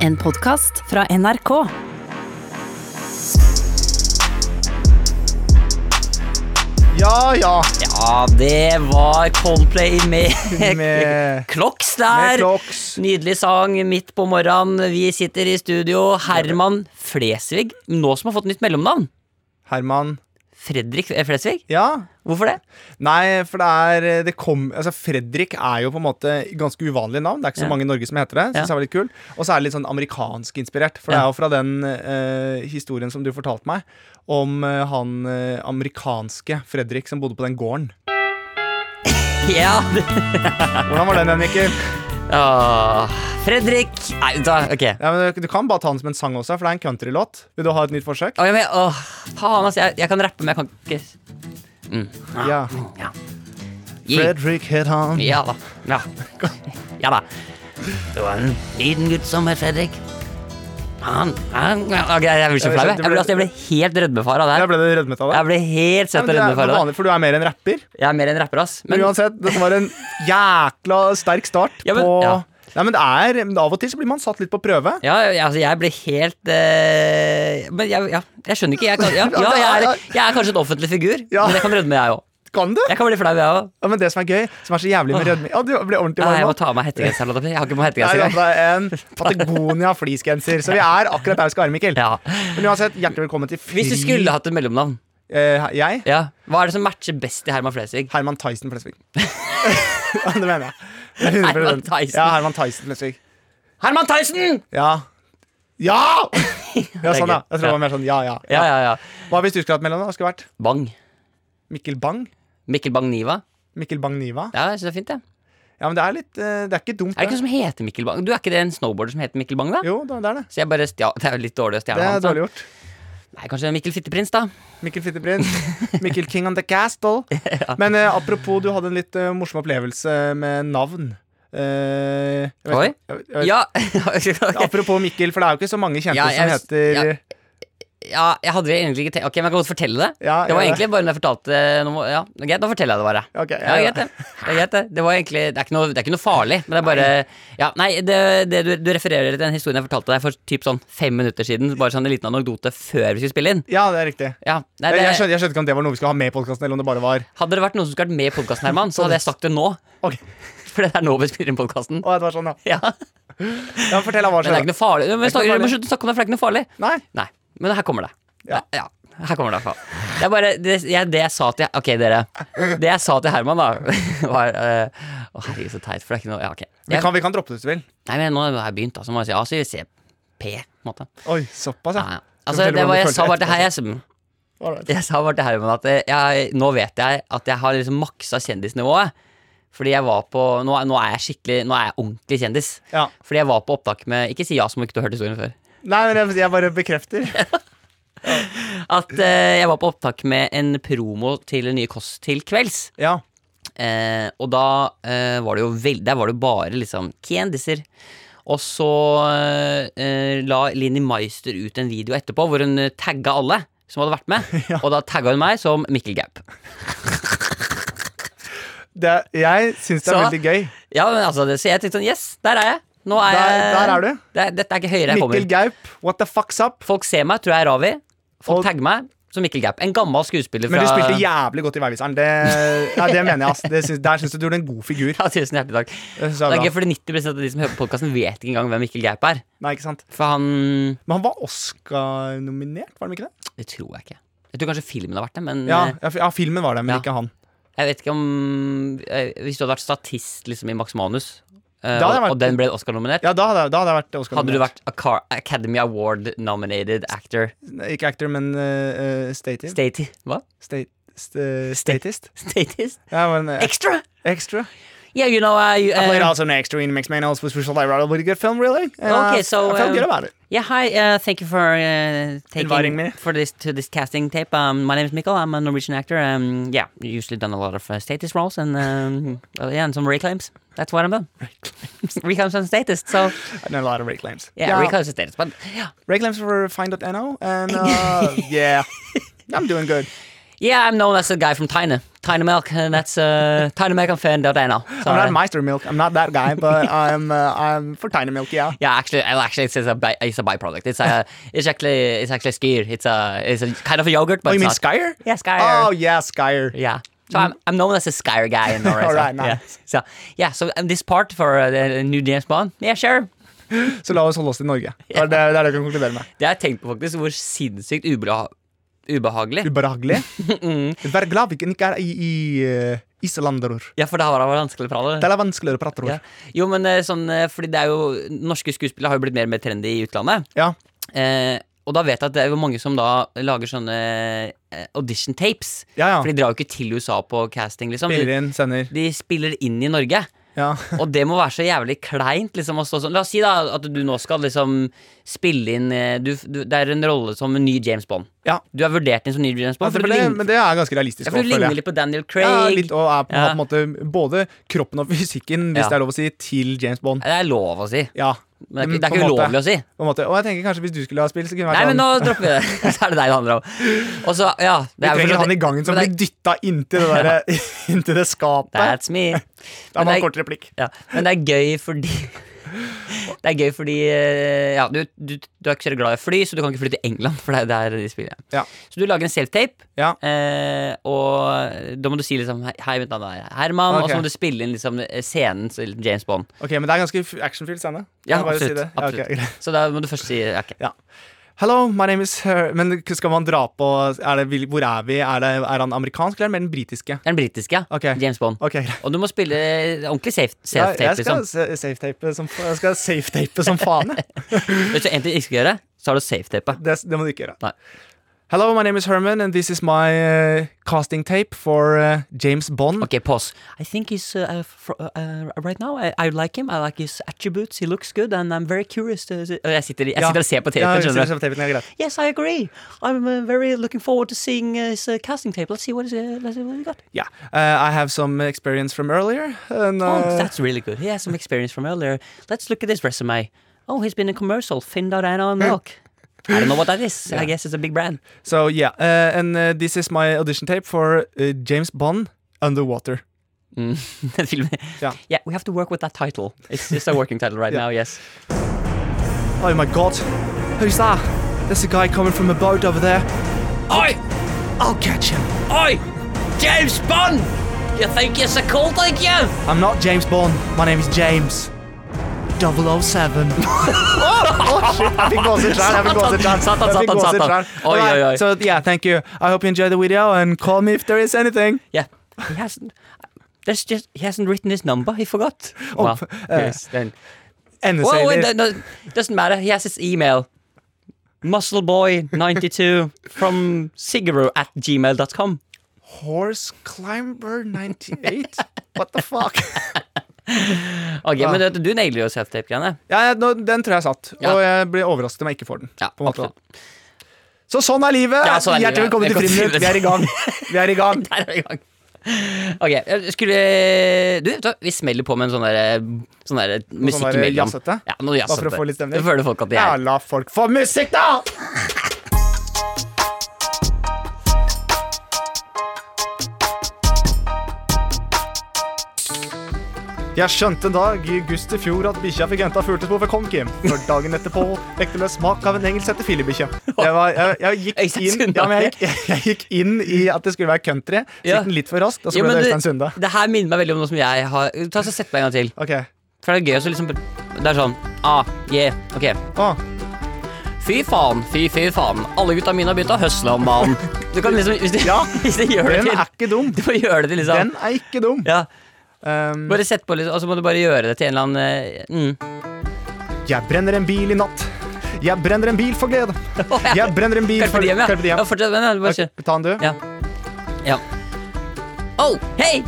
En podkast fra NRK. Ja, ja. Ja, det var Coldplay med Med, Klokks med der. Clocks. Nydelig sang midt på morgenen. Vi sitter i studio. Herman Flesvig, nå som har fått nytt mellomnavn. Herman. Fredrik eh, Flesvig? Ja. Hvorfor det? Nei, for det er det kom, altså Fredrik er jo på en måte ganske uvanlig navn. Det er ikke så Ja. mange i Norge som heter det. Ja. Synes jeg var litt kul Og så er det litt sånn amerikansk inspirert. For det Ja. er jo fra den eh, historien som du fortalte meg, om eh, han eh, amerikanske Fredrik som bodde på den gården. Ja, det Hvordan var den, Henrikker? Åh, Fredrik Nei, da, ok. Ja, men du, du kan bare ta den som en sang også, for det er en countrylåt. Vil du ha et nytt forsøk? Åh, jeg, men- åh, faen, altså. Jeg, jeg kan rappe, men jeg kan ikke Ja. Ja, Gi- Fredrik het han. ja da. Ja. ja da. Det var en liten gutt som het Fredrik. Han, han ok, Jeg blir så flau. jeg. Jeg, blir- altså, jeg ble helt rødmefara der. Jeg ble du rødmet av det? Jeg ble helt Ja, søt men og det er rødmefara der. vanlig, for du er mer en rapper. Jeg er mer en rapper, ass. Men Men uansett, dette var en jækla sterk start Ja, men- på ja. Nei, men det er, men Av og til så blir man satt litt på prøve. ja, jeg- altså, jeg ble helt eh, Men jeg, ja, jeg skjønner ikke. Jeg, kan, ja, ja, jeg, er, jeg er kanskje en offentlig figur, Ja. men jeg kan rødme, jeg òg. Kan du? Jeg kan bli flau, jeg òg. Ja, men det som er gøy, som er så jævlig med rødme Ja, du ble ordentlig Nei, Jeg varm må nå. ta av meg hettegenser. Lotte. Jeg har ikke på meg Jeg hettegenser engang. hadde en Patagonia-fleecegenser, så vi er akkurat der vi skal være, Mikkel. Ja. Men uansett, hjertelig velkommen til fri Hvis du skulle hatt et mellomnavn, eh, Jeg? ja. hva er det som matcher best i Herman Flesvig? Herman Tyson Flesvig. ja, det mener jeg. Det er 100%. Herman Tyson. Ja, Herman Tyson Flesvig. Herman Theisen! Ja. Ja! Ja, sånn, ja. Jeg tror det Ja. var mer sånn ja, ja. Ja, ja, ja. Hva hvis du skulle hatt mellom? da? Skulle vært Bang. Mikkel Bang? Mikkel Bang-Niva. jeg Mikkel Bang-Niva? synes det er fint, jeg. Ja, men det er litt eh, Det er ikke dumt, Er det ikke noen som heter Mikkel Bang? Du er ikke det en snowboarder som heter Mikkel Bang, da? Jo, det er det. Så jeg bare stjal Det er jo litt dårlig å Det stjele er hans, da. dårlig gjort. Nei, kanskje Mikkel Fitteprins, da. Mikkel Fitteprins. Mikkel King on the Castle. Men eh, apropos, du hadde en litt eh, morsom opplevelse med navn. Eh, jeg vet Oi. ikke- jeg vet- jeg vet Ja. ok. ikke. Apropos Mikkel, for det er jo ikke så mange kjente Ja, jeg- som heter ja. ja, jeg hadde egentlig ikke tenkt Ok, men jeg kan godt fortelle det. Ja, det gjør var det. egentlig bare når jeg fortalte eh, nå må- Ja, det er greit, nå forteller jeg det bare. Ok, ja, det ja, er greit, det. Det er greit, det. Det var egentlig Det er ikke noe, det er ikke noe farlig, men det er bare Ja, nei, det, det, du, du refererer til den historien jeg fortalte deg for typ sånn fem minutter siden. Bare sånn en liten anekdote før vi skulle spille inn. Ja, det er riktig. Ja, nei, jeg, jeg, det, skjønte, jeg skjønte ikke om det var noe vi skulle ha med i podkasten, eller om det bare var Hadde det vært noen som skulle vært med i podkasten, Herman, så hadde jeg sagt det nå. Ok, For det er nå vi spiller inn podkasten. Å, det var sånn, ja. Ja, ja fortell hva men det er skjedde. ikke noe farlig. Men ikke noe snakker, vi må farlig. slutte å snakke om det, for det er ikke noe farlig. Nei? Nei, men her kommer det. Ja. Nei, ja. Her kommer det, i hvert fall. Det er bare det jeg, det jeg sa til Ok, dere. Det jeg sa til Herman, da, var eh, Å, herregud, så teit, for det er ikke noe Ja, ok. Vi Jeg, kan, vi kan droppe det hvis du vil. nei, men nå har jeg begynt, da, så må jeg si ja, så vil vi se P, på en måte. Oi, såpass, Ja, ja. ja. Altså, det var, jeg sa bare til her, jeg, Alright. jeg sa bare til Herman at eh, jeg, nå vet jeg at jeg har liksom maksa kjendisnivået. Fordi jeg var på Nå, er- nå er jeg skikkelig Nå er jeg ordentlig kjendis. Ja. Fordi jeg var på opptak med Ikke si ja som om ikke du har hørt historien før. Nei, men jeg, jeg bare bekrefter. At eh, jeg var på opptak med en promo til det nye Kåss til kvelds. Ja. Eh, og da eh, var det jo vel, Der var det jo bare liksom kjendiser. Og så eh, la Linni Meister ut en video etterpå hvor hun eh, tagga alle som hadde vært med. Og da tagga hun meg som Mikkel Gaup. Det, jeg syns det er Så- veldig gøy. Ja, men altså, det, så jeg tenkte sånn Yes, der er jeg. Nå er Der- jeg der er du. Det, er- dette er ikke høyere jeg Mikkel kommer. Gaup, what the fuck's up? Folk ser meg, tror jeg er Ravi. Folk Og- tagger meg som Mikkel Gaup. En gammel skuespiller Men fra du spilte jævlig godt i Veiviseren. Det, nei, det mener jeg. ass. Det syns- der syns du du gjorde en god figur. ja, Tusen hjertelig takk. Det syns Det jeg er er gøy, bra. fordi 90 av de som hører på podkasten, vet ikke engang hvem Mikkel Gaup er. Nei, ikke sant? For han Men han var Oscar-nominert, var han ikke det? Det tror jeg ikke. Jeg tror kanskje filmen har vært det, men Ja, eh, ja, fi- ja, filmen var det, men Ja. ikke han. jeg vet ikke om eh, Hvis du hadde vært statist liksom, i Max Manus, eh, Da hadde jeg og, vært- og den ble Oscar-nominert, Ja, da hadde, jeg- da hadde jeg vært hadde du Oscar-nominert. vært Aca- Academy Award-nominated actor? Ikke actor, men uh, stative. Stati... Hva? State, st eh, statist. Statist? Ja, men, eh, Extra! extra. Yeah, you know uh, you, I played uh, also an extra in Max Manos, which was a really good film, really. And I- Okay, so, I felt um, good about it. Yeah, hi. Uh, thank you for uh, taking Inviting me. for this to this casting tape. Um, my name is Mikkel. I'm a Norwegian actor. Um, yeah, usually done a lot of uh, status roles and um, uh, yeah, and some reclaims. That's what I'm done. Reclaims, reclaims and status. So And a lot of reclaims. yeah, reclaims and status. But yeah, Reclaims for fine.no, and uh, yeah, I'm doing good. yeah, I'm known as the guy from China. Tiny Milk, and that's uh, tinymilkandfan.no. I'm not Meister Milk. I'm not that guy, but I'm, uh, I'm for Tiny Milk, yeah. Yeah, actually, well, actually, it's, it's a by, it's a byproduct. It's a it's actually it's actually skyr. It's a it's a kind of a yogurt, but Oh, you it's mean not. Skyer? Yeah, skyr. Oh, yeah, Skyer. Yeah. So I'm, I'm known as a Skyr guy in Norway. All right, so, nice. yeah. So yeah, so um, this part for uh, the the new James Bond, yeah, sure. Så la oss holde oss til Norge. Det er det, det, er det du kan konkludere med. Det har jeg tenkt på faktisk, hvor sinnssykt ubeha ubehagelig. Ubehagelig. Mm. Vær glad vi ikke er i, i eh, islanderord. Ja, for det har vært vanskelig å prate. Det er vanskeligere å prate ord. Ja. Jo, men eh, sånn, eh, fordi det er jo Norske skuespillere har jo blitt mer og mer trendy i utlandet. Ja. Eh, og da vet jeg at det er jo mange som da lager sånne eh, audition tapes. Ja, ja. For de drar jo ikke til USA på casting, liksom. Spiller De, inn, sender. de spiller inn i Norge. Ja. Og det må være så jævlig kleint liksom, å stå sånn. La oss si da at du nå skal liksom spille inn eh, du, du, Det er en rolle som en ny James Bond. Ja. Du er vurdert inn som ny James Ja, det, Bond. for du ble, lign- men det er ganske realistisk. ja, for også, du føler jeg. ligner litt på Daniel Craig. ja, litt, og er på, Ja. på en måte både kroppen og fysikken, hvis Ja. det er lov å si, til James Bond. Det er lov å si. Ja. Men det er ikke, det er på ikke en måte. ulovlig å si. På en måte. Og jeg tenker kanskje hvis du skulle ha spilt, så kunne det Nei, vært men nå sånn dropper vi det. Så er det deg det handler om. Og så, ja Vi det er jo trenger fortsatt- han i gangen som men blir det er- dytta inntil det, der, inntil det skapet. That's me. Da var det Men det en er- kort replikk. Ja, men det er gøy fordi Det er gøy fordi eh, ja, du, du, du er ikke så glad i fly, så du kan ikke fly til England. For det er der de spiller Ja. Så du lager en self-tape, Ja. eh, og da må du si liksom Hei, hei, mitt navn er Herman. Og Ok. så må du spille inn liksom scenen til James Bond. Ok, Men det er ganske f- actionfylt scene. Kan Ja, jeg bare absolutt, det? Ja, ok, absolutt. greit. Så da må du først si ok. Hello, my name is Her Men skal man dra på er det, vil- Hvor er vi? Er, det, er han amerikansk eller er han mer den britiske? Den britiske, ja. Ok. James Bond. Ok, greit. Og du må spille ordentlig safe- Ja, self-tape. jeg liksom. skal se- safetape som, jeg skal safetape som faen, jeg. Hvis du en ting ikke skal gjøre, så har du safe-tape. Det, det må du ikke gjøre. Nei. Hello, my name is Herman, and this is my uh, casting tape for uh, James Bond. Ok, pause. I think he's uh, fr- uh, right now. I, I like him. I like his attributes. He looks good, and I'm very curious. To, to- Og jeg sitter, jeg Ja. sitter og ser på Ja, tapen, jeg skjønner du. ser på tapen, ja, greit. Yes, I agree. I'm uh, very looking forward to seeing uh, his uh, casting tape. Let's see what is uh, let's see what he got. Yeah. Uh, I have some experience from earlier. And, Oh, uh, that's really good. He has some experience from earlier. Let's look at his resume. Oh, he's been in commercial. Finn.no and Milk. I don't know what that is. I guess it's a big brand. so, yeah. Uh, and uh, this is my audition tape for uh, James Bond Underwater. Mm. Den filmen. Ja. yeah, we have to work with that title. It's just a working title right Ja. now, yes. Oh my god. Who's that? There's a guy coming from a boat over there. Oi! I'll catch him. Oi! James Bond! You think you're so cool, thank you? I'm not James Bond. My name is James. 007. Oh, Satan, satan, satan. Oi, oi, oi. So yeah, thank you. I hope you enjoyed the video and call me if there is anything. Yeah. He hasn't... There's just... He hasn't written his number, he forgot. Oh, well, yes, then... And the Well, same wait, is- no, doesn't matter, he has his email. Muscleboy92 from sigaro at gmail.com. Horse climber 98? What the fuck? Ok, Ah. men du, du nailer jo self-tape-greiene. ja, ja, nå- den tror jeg satt. Ja. Og jeg blir overrasket om jeg ikke får den. Ja, på en måte. absolutt. Så sånn er livet. Ja, sånn er Hjertelig velkommen livet. til Velkommen til Friminutt. Vi er i gang. Vi er i gang. Der er vi i gang. Ok, jeg skulle Du, vet du hva, vi smeller på med en sånn der, sånn der musikk der imellom. jazzete? Ja, noe Bare jazzete. for å få litt stemning. Det føler folk at de Ja, er. la folk få musikk, da! Jeg skjønte en dag i august i fjor at bikkja fikk henta fuglespor ved kong Kim. For dagen etterpå lekte med smak av en engelsk etter fillebikkje. Jeg, var- jeg, jeg, gikk Øystein inn- Sunde. ja, men jeg, gikk- jeg gikk inn i at det skulle være country. Så Ja. gikk den litt for raskt, og så Ja, ble men det du- Øystein Sunde. Det her minner meg veldig om noe som jeg har Ta så Sett meg en gang til. Ok. For det er gøy også liksom Det er sånn Ah, yeah, ok. Å, Fy faen, fy fy faen. Alle gutta mine har begynt å høsle om mannen. Du kan liksom Hvis du, Ja, hvis du gjør det den til er ikke dum. Du må gjøre det til liksom Den er ikke dum. Ja. Um, Bare sett på, liksom, og så må du bare gjøre det til en eller annen eh, mm. Jeg brenner en bil i natt. Jeg brenner en bil for glede. Jeg brenner en bil Carpe for diem, ja. Carpe diem. ja fortsett med det. Bare kjør. Ta den, du. Ja. Ja. Oh, hei!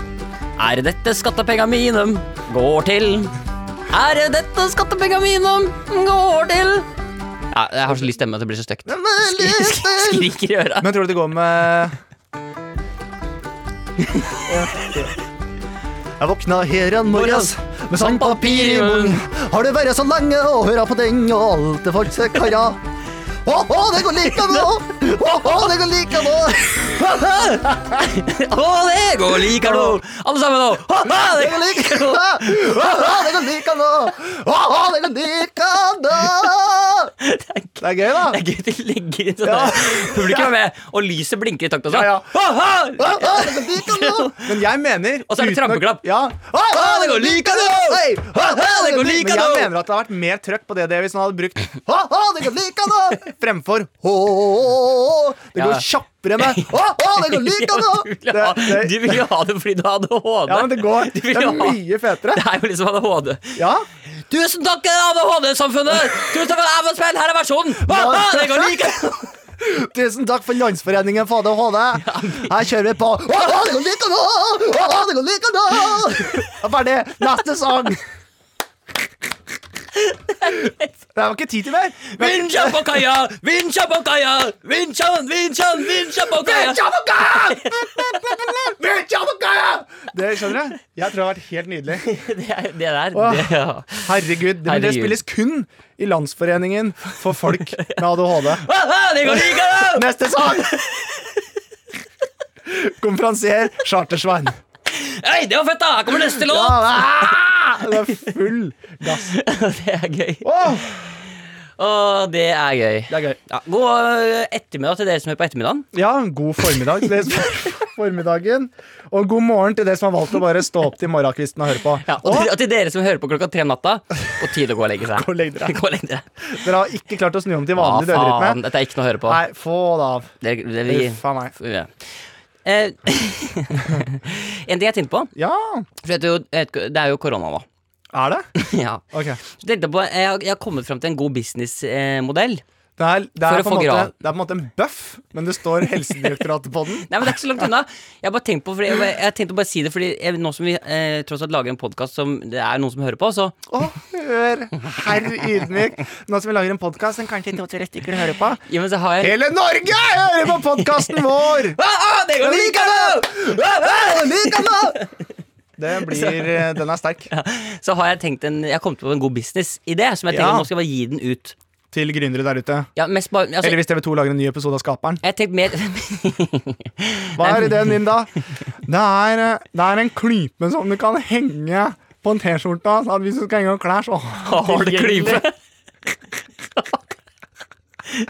Er dette skattepenga mine går til? Er dette skattepenga mine går til? Ja, jeg har så lyst stemme at det blir så stygt. Skriker i øra. Men tror du det går med Jeg våkna her en morges med sandpapir i munnen. Har det vært så lenge å høre på den og alt det falske kaja? Å, å, det går like nå! Å, å, det går like nå! Å, det går liker du! Alle sammen nå! Å, det går liker du! Det er gøy, da. Det er gøy at de legger inn sånn der. Publikum er med, og lyset blinker i takt også. Ja, ja. Å, å! Men jeg mener Og så er det uten å- trampeklapp. Ja. det går like nå! Hei! det går like Men jeg nå! mener at det har vært mer trøkk på det det hvis man hadde brukt ha, ha, det går like nå! fremfor hå, Det går Ja. kjappere med ha, ha, det går like nå! Du vil ha- Det- Du det- vil jo ha det fordi du har ADHD. Ja, men det går Du Det vil er jo ha- mye fetere. Det er jo liksom ADHD. Ja. Tusen takk, ADHD-samfunnet! Tusen takk for at jeg var spent! Her er versjonen! Å, å, det går like Tusen takk for Landsforeningen for ADHD. Her kjører vi på ha, ha, det går like nå! Ha, ha, det går like nå! Ja, Ferdig. Neste sang. Det var ikke tid til mer. Men- Vinsja på kaia! Vinsja på kaia! Vinsjan, vinsjan, vinsja på kaia! Det skjønner jeg. Jeg tror det har vært helt nydelig. Det, er- det der Åh. det, ja. Herregud, det, men det Herregud. spilles kun i Landsforeningen for folk med ADHD. Å, å, Det går like nå! Neste sang! Konferansier Chartersvein. Hei, det var fett, da! Her kommer neste låt! Ah, det er full gass. Det er gøy. Åh, Å, det er gøy. det er gøy. Ja, god eh, ettermiddag til dere som er på ettermiddagen. Ja, god formiddag til dere som er på formiddagen. Og god morgen til dere som har valgt å bare stå opp til morgenkvisten og høre på. Ja, og, til, og til dere som hører på klokka tre om natta. På tide å gå og legge seg. og legg dere. Gå og legg dere. Dere har ikke klart å snu om til Å, vanlig døgnrytme. faen, dette er ikke noe å høre på. Nei, få det av. Det, det, vi, Uff a meg. ja. Eh, en ting jeg tenkte på Ja, for vet du, vet du, Det er jo korona nå. er det? Ja. Ok. Så tenkte jeg, på, eh, jeg, har- jeg har kommet fram til en god eh, businessmodell. Det er, det, er For på å få en måte, grav. det er på en måte en bøff, men det står Helsedirektoratet på den. Nei, men det er ikke så langt unna. Jeg har bare tenkt på, fordi jeg, jeg tenkte å bare si det, fordi jeg, nå som vi eh, tross alt lager en podkast som det er noen som hører på, så Å, hør, herr ydmyk. Nå som vi lager en podkast som kanskje to-tre stykker hører på. Ja, men så har jeg Ah, Hele Norge hører på podkasten vår! det går like Det blir, eh, Den er sterk. Så har jeg tenkt en Jeg har kommet på en god businessidé, som jeg tenker Ja. nå skal jeg bare gi den ut. Til gründere der ute. Ja, mest bare altså, Eller hvis TV2 lager en ny episode av Skaperen. Jeg har tenkt mer Hva er ideen din, da? Det er, eh, det er en klype som du kan henge på en T-skjorte. sånn at Hvis du skal henge opp klær, så Har det klype?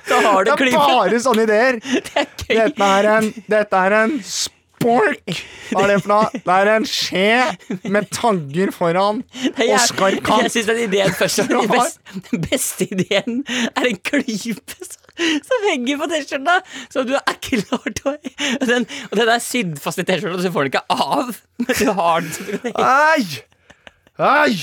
Da har Det det er klype. bare sånne ideer. gøy. Dette er en, dette er en spork. Hva er det for noe? Det er en skje med tagger foran og Jeg, skarp jeg kant. syns den ideen først var den Du har- beste. Den beste ideen er en klype som, som henger på T-skjorta, så du er klar til å Og den, og den er sydd fast i T-skjorta, så du får den ikke av. Men du har den så du kan henge. Ei! Ei!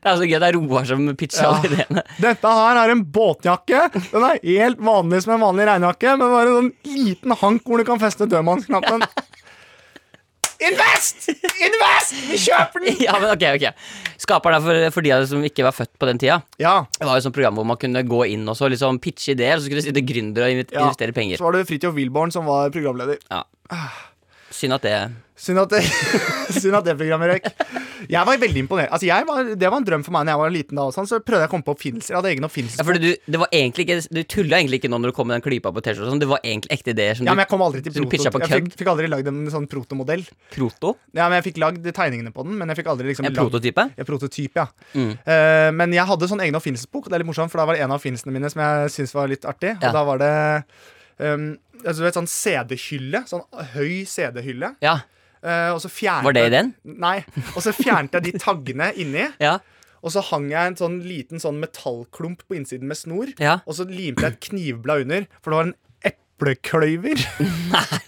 Det er så gøy, det er Roar som pitcher alle ideene. Dette her er en båtjakke. Den er helt vanlig som en vanlig regnjakke, men bare en sånn liten hank hvor du kan feste dødmannsknappen. Invest! Invest! Vi kjøper den! Ja, men ok, ok Skaperen er for, for de av dere som ikke var født på den tida. Ja. Det var jo et sånt program hvor man kunne gå inn og så liksom pitche ideer, og så skulle det sitte gründere og invit- ja. investere penger. Så var det Fridtjof Wilborn som var programleder. Ja. Synd at det Synd at, det, synd at det programmet røyk. Jeg var veldig imponert. Altså, jeg var, det var en drøm for meg da jeg var liten. da og sånn, Så prøvde jeg å komme på oppfinnelser. Jeg hadde egen ja, oppfinnelse. fordi du, det var egentlig ikke, du tulla egentlig ikke nå når du kom med den klypa på T-skjorta. og sånn. Det var egentlig ekte ideer som Ja, du men jeg kom aldri til Så du proto. pitcha på Jeg kødd? fikk, fikk aldri lagd en sånn protomodell. proto? Ja, men jeg fikk lagd tegningene på den, men jeg fikk aldri liksom En Mm. lagd- prototype? Ja, prototyp, ja. Eh, men jeg hadde sånn egen oppfinnelsesbok. og Det er litt morsomt, for da var det en av oppfinnelsene mine som jeg syntes var litt artig. Ja. Og da var det um, altså, du vet, sånn CD-hylle. Sånn høy CD-hylle. Ja. eh, og så fjernet Var det ideen? Nei. Og så fjernet jeg de taggene inni. Ja. Og så hang jeg en sånn liten sånn metallklump på innsiden med snor. Ja. Og så limte jeg et knivblad under, for det var en eplekløyver.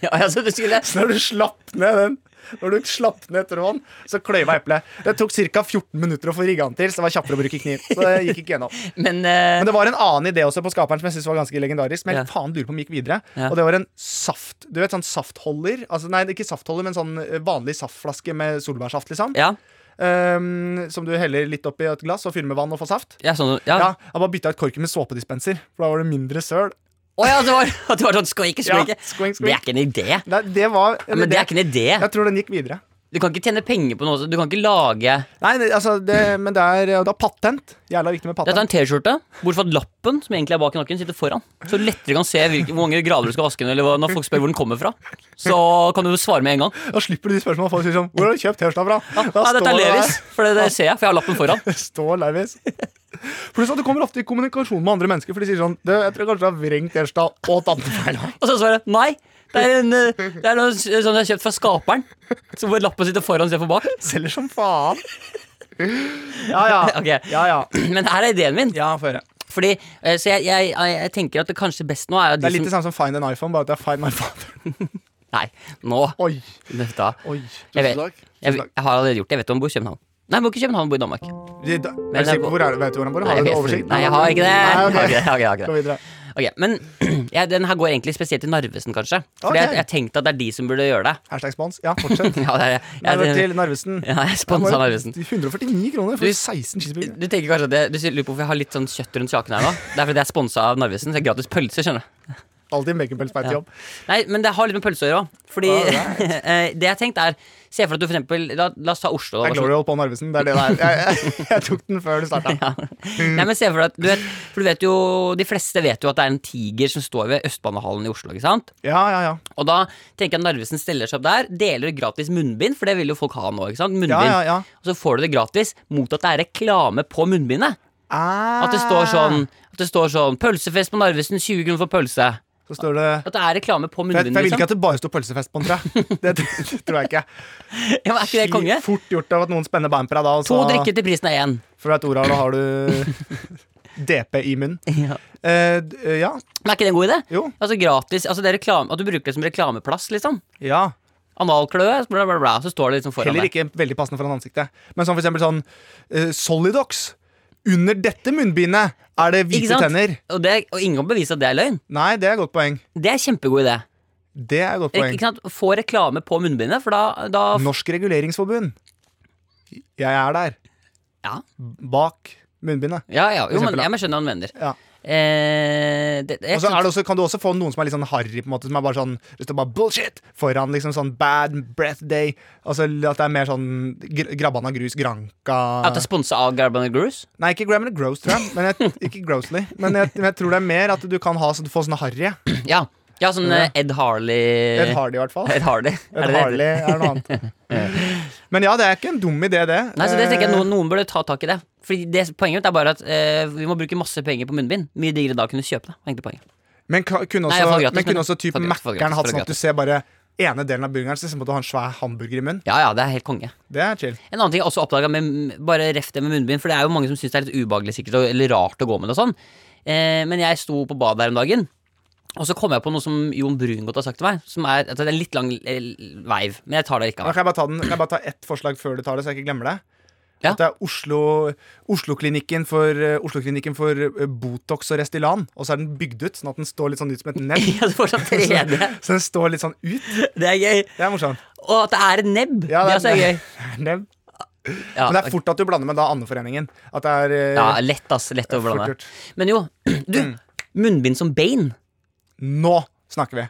ja altså, du skulle Så når du slapp ned den Når du slapp ned tråden, så kløyva eplet. Det tok ca. 14 minutter å få rigga den til, så det var kjappere å bruke kniv. Så det gikk ikke gjennom. Men, eh, Men det var en annen idé også på skaperen som jeg synes var ganske legendarisk. Men jeg Ja. faen lurer på om jeg gikk videre Ja. Og det var en saft Du vet sånn saftholder? Altså, nei, det er ikke saftholder, men sånn eh, vanlig saftflaske med solbærsaft, liksom. ja. Ehm, som du heller litt oppi et glass og fyller med vann og får saft. ja, sånn ja. Ja, Jeg bare bytta ut korken med såpedispenser, for da var det mindre søl. Å ja, det var, at det var sånn skoink, skoink. Ja, skoink, skoink. Det er ikke en idé. Nei, det var Ja, men det er ikke en idé. Jeg tror den gikk videre. Du kan ikke tjene penger på noe. så Du kan ikke lage Nei, det- altså, det, men det er, det er patent. Jævla viktig med Dette er patent. en T-skjorte, bortsett fra at lappen som egentlig er bak i nakken, sitter foran. Så lettere kan se hvilke, hvor mange grader du skal vaske den, eller hva- når folk spør hvor den kommer fra. Så kan du svare med en gang. Da slipper du de spørsmålene folk sier sånn Hvor har du kjøpt T-skjorta fra? Da Ja, ja, dette er står det der. Levis, for det, det ser jeg, for jeg har lappen foran. Det står Levis. Pluss at du kommer ofte i kommunikasjon med andre mennesker, for de sier sånn du, 'Jeg tror kanskje du har vrengt T-skjorta og tatt den feil vei.» Og så svarer jeg nei. Det er, en, eh, det er noe s- sånn jeg har kjøpt fra skaperen. Så hvor lappen sitter foran istedenfor bak. Selger som faen. Ja, ja. Ok. Ja, ja. Men her er ideen min. ja få høre. Fordi, eh, så jeg, jeg, jeg, jeg tenker at det kanskje best nå er at Det de er litt sånn- det som samme som Find an iPhone, bare at det er Find my father. Nei, nå. Oi, Vent da. oi. Jeg, Tusen vet, takk. jeg, jeg har allerede gjort det. Jeg vet om han bor i København. Nei, han bor ikke i København, han bor i Danmark. De- da- Men Er du det er sikker på hvor er, vet du hvor han bor? Nei, Har du jeg, en vet- oversikt? nei, jeg har ikke det. Nei, ok. Jeg har ikke det, jeg har ikke det, jeg har ikke det. Gå videre. Ok, Men ja, den her går egentlig spesielt til Narvesen, kanskje. Fordi Ok. jeg, jeg tenkte at det er de som burde gjøre det. Hashtag spons. Ja, fortsett. Ja, det er, jeg, Nei, jeg, til Narvesen. ja, jeg sponsa Narvesen. 149 kroner for Du- 16 cheeseburgere. Du tenker kanskje at jeg, du lurer på hvorfor jeg har litt sånn kjøtt rundt kjaken her nå? Det er fordi jeg er sponsa av Narvesen. Så jeg har gratis pølse, skjønner du. Alltid makeup-pelspeitjobb. Nei, men det har litt med pølse å gjøre òg. Fordi Alright. eh, det jeg tenkte er Se for deg at du for eksempel La, la oss ta Oslo. Det er da, bare sånn. Glorial på Narvesen. Det er det det er. Jeg, jeg, jeg tok den før du starta. Ja. Nei, men se for deg at du vet, For du vet jo De fleste vet jo at det er en tiger som står ved Østbanehallen i Oslo, ikke sant? Ja, ja, ja. Og da tenker jeg Narvesen stiller seg opp der, deler ut gratis munnbind, for det vil jo folk ha nå. ikke sant? Munnbind. ja, ja, ja. Og så får du det gratis mot at det er reklame på munnbindet. Ah. At det står sånn, at det står sånn 'Pølsefest på Narvesen, 20 kroner for pølse'. Så står det At det er reklame på for jeg, for munnbindet. jeg vil ikke Liksom. at det bare står pølsefest på den, tror jeg. Det, det tror jeg ikke. Ja, men er ikke det konge? Fort gjort av at noen spenner bein på deg da, og To så drikker til prisen av én. før du vet ordet av det, har du DP i munnen. Eh, d- eh, ja. Men er ikke det en god idé? Jo. Altså gratis, altså det er reklame, At du bruker det som reklameplass, liksom. Ja. Analkløe, bla, bla, bla. Så står det liksom foran Heller deg. ikke veldig passende foran ansiktet. Men sånn for eksempel sånn eh, Solidox. Under dette munnbindet er det Ikke hvite sant? tenner. Og, det, og ingen kan bevise at det er løgn. Nei, det er et godt poeng. Det er kjempegod idé. Det er et godt Ikke, poeng. ikke sant? Få reklame på munnbindet, for da, da Norsk reguleringsforbund. Jeg er der. Ja. Bak munnbindet. Ja, ja, jo, For men eksempel, da. jeg må skjønne hva han mener. Ja. Eh, det, det, Og så er det også, kan du også få noen som er litt sånn harry, på en måte, som er bare sånn hvis det bare bullshit foran liksom sånn bad breath day. Altså At det er mer sånn gr Grabban av grus, Granka at det er sponsa av Garban Grus? Nei, ikke Graham eller Gross, tror jeg. Men jeg ikke grossly. Men jeg, men jeg tror det er mer at du kan ha, så du får sånne harry. Ja. ja, sånn eh, Ed Harley Ed Hardy, i hvert fall. Ed Harley. Ed Eh, Er det det heter? Harley er noe annet. Eh, Men ja, det er ikke en dum idé, det. Nei, så det tenker jeg Eh, noen, noen burde ta tak i det. Fordi det Poenget mitt er bare at eh, vi må bruke masse penger på munnbind. Mye diggere da å kunne kjøpe det. var egentlig poenget. Men ka- kunne Nei, jeg også, får gratis, men kunne men- også type får gratis, får Mækkern gratis, hatt får sånn at du gratis. ser bare ene delen av burgeren, så ser du at du har en svær hamburger i munnen. Ja, ja, det er helt konge. Det er chill. En annen ting jeg også oppdaga med bare ref det med munnbind, for det er jo mange som syns det er litt ubehagelig sikkert og- eller rart å gå med det og sånn. Eh, men jeg sto på badet her om dagen, og så kom jeg på noe som Jon Brungot har sagt til meg. Som er, at det er en litt lang eh, veiv, men jeg tar det Da likevel. kan jeg bare ta, den, kan jeg bare ta ett forslag før du tar det, så jeg ikke glemmer det. Ja. At det er Oslo, Oslo-klinikken for, eh, Oslo-klinikken for eh, Botox og Restylane. Og så er den bygd ut, sånn at den står litt sånn ut som et nebb. Ja, det får sånn tredje. Så den står litt sånn ut. Det er gøy. Det er morsomt. Og at det er et Ja, nebb. det, det er- også er gøy. Nebb. Ja, Men det er fort at du blander med da Andeforeningen. At det er eh, ja, Mm. lett, ass. Lett å fort blande. gjort. Men jo, du. Munnbind som Bane. Nå snakker vi!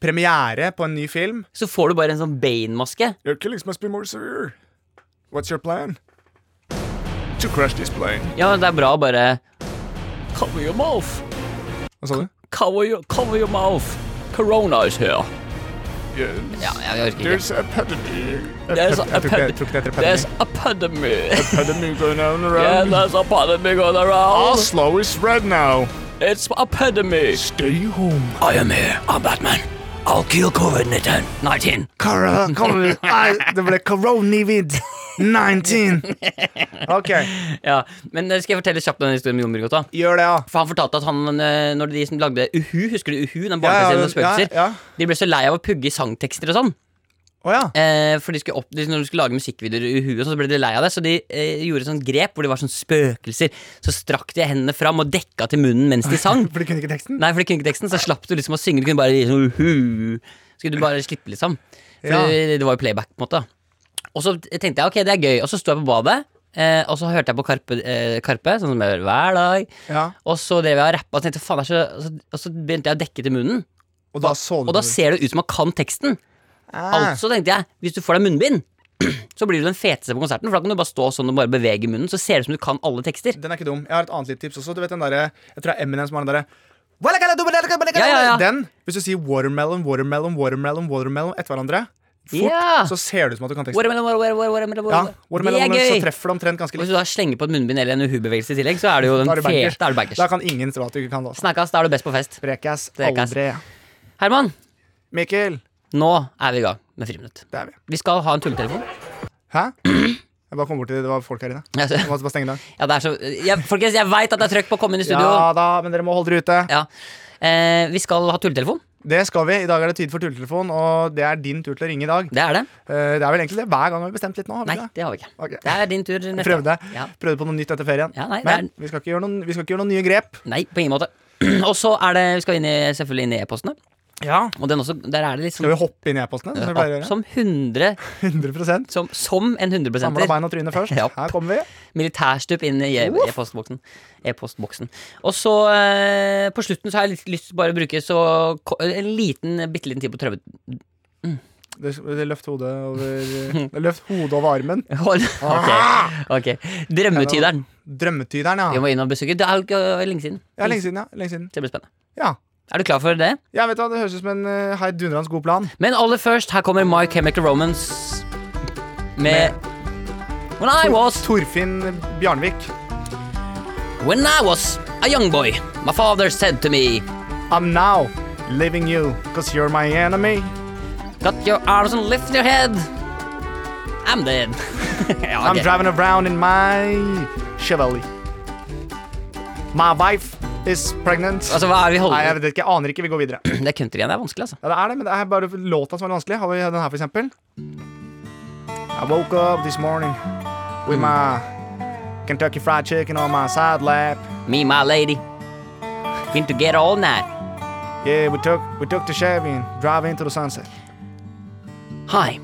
Premiere på en ny film. Så får du bare en sånn Bane-maske. Your killings must be more severe. What's your plan? To crash this plane. Ja, men det er bra å bare Cover your mouth. Hva sa du? Cover your, cover your mouth. Corona is here. Yes. Ja, jeg orker ikke. a epidemic. There's a Jeg tror ikke det- jeg tror ikke det heter There's epidemic. a pandemic. Epidemic going on Yeah, around. there's a pandemic going around. Oslo is red now. It's a pandemic. Stay home. I am here. I'm Batman. I'll kill COVID-19. 19. Cara, kom- Nei, det ble coronavid 19. Ok, Ja, men eh, skal jeg fortelle kjapt den historien med Jon Brungot, da? gjør det, ja. For han fortalte at han, eh, når de som lagde Uhu, husker du Uhu? Den barneserien med ja, spøkelser. ja. De ble så lei av å pugge sangtekster og sånn. Å ja. Eh, for de skulle opp, de, når de skulle lage musikkvideoer i Uhu, og sånn, så ble de lei av det. Så de eh, gjorde sånn grep hvor de var sånn spøkelser. Så strakk de hendene fram og dekka til munnen mens de sang. For du kunne ikke teksten? Nei, for de kunne ikke teksten, så slapp du liksom å synge. Du kunne bare gi sånn Uhu. Så kunne du bare slippe, liksom. For Ja. det, det var jo playback, på en måte. Og så tenkte jeg ok, det er gøy. Og så sto jeg på badet, eh, og så hørte jeg på Karpe, eh, Karpe sånn som jeg gjør hver dag. Ja. Og så drev jeg og rappa, og tenkte, faen, det er så, og så- og så begynte jeg å dekke til munnen. Og da så du Og da det. ser det ut som man kan teksten. Mm. Ah, Altså tenkte jeg, hvis du får deg munnbind, så blir du den feteste på konserten. For da kan du bare stå sånn og bare bevege munnen, så ser det ut som du kan alle tekster. Den er ikke dum. Jeg har et annet litt tips også. Du vet den derre Jeg tror det er Eminem som har den derre ja, Ja, ja, ja. Den, hvis du sier watermelon, watermelon, watermelon, watermelon etter hverandre, fort, Ja. så ser det ut som at du kan teksten. Watermelon, watermelon, watermelon, Ja, watermelon. watermelon, Det watermelon, er så gøy! treffer det omtrent ganske Og Hvis litt. du da slenger på et munnbind eller en uhu-bevegelse i tillegg, så er det jo den Da er du fete. bankers. Da er du bankers. Da kan ingen tro at du ikke kan det. altså. Snakkes, da er du best på fest. Prekas. Prekas. Aldri. Herman, Mikkel. nå er vi i gang med friminutt. Det er vi. Vi skal ha en tulletelefon. Hæ? Jeg bare kom bort til det. Det var folk her inne. Ja, så- Jeg måtte bare stenge den. Ja, det er så jeg, Folkens, jeg veit at det er trøkk på å komme inn i studio. Ja da, men dere må holde dere ute. Ja. Eh, vi skal ha tulletelefon. Det skal vi. I dag er det tid for tulletelefon, og det er din tur til å ringe i dag. Det er det. Eh, Det er vel egentlig det hver gang har vi bestemt litt nå. har vi Nei, ikke det? det har vi ikke. Ok. Det er din tur neste. Prøvde. Ja. Prøvde på noe nytt etter ferien. Ja, nei, det Men er- vi skal, ikke gjøre noen, vi skal ikke gjøre noen nye grep. Nei, på ingen måte. Og så er det, vi skal inn i, selvfølgelig inn i e-postene. Ja. Og den også, der er det liksom Skal vi hoppe inn i e-postene? som vi pleier å gjøre? som 100 100 som, som en 100 Samla bein og tryne først. Ja. Her kommer vi. Militærstup inn i e- Uff. e-postboksen. E-postboksen. Og så eh, på slutten så har jeg litt lyst til bare å bruke så ko- en liten, bitte liten tid på å prøve Det, det løft hodet over det Løft hodet over armen. Hold. Ah. Ok. ok. Drømmetyderen. Drømmetyderen, Vi ja. må innom besøke. Det er jo ikke øh, lenge siden. Ja, lenge siden. ja, lenge siden Det blir spennende. Ja, Er du klar for det? ja vet du, hva, Det høres ut som en eh, heidundrende god plan. Men aller først, her kommer My Chemical Romance med When I was Torfinn Bjarnvik. When I was a young boy, my father said to me I'm now leaving you cause you're my enemy. Got your arms and lift your head. I'm dead. ja, I'm ok. driving around in my Chevrolet. My wife is pregnant. Altså, hva er det vi Nei, jeg holder vet ikke, jeg aner ikke. Vi går videre. Det country igjen, det er vanskelig, altså. Ja, det er det, men det er bare låta som er vanskelig. Har vi den her, for eksempel? I woke up this morning with my Kentucky fried chicken on my side lap. Me, my lady. Been together all night. Yeah, we took, we took the Chevy and drive into the sunset. Hi,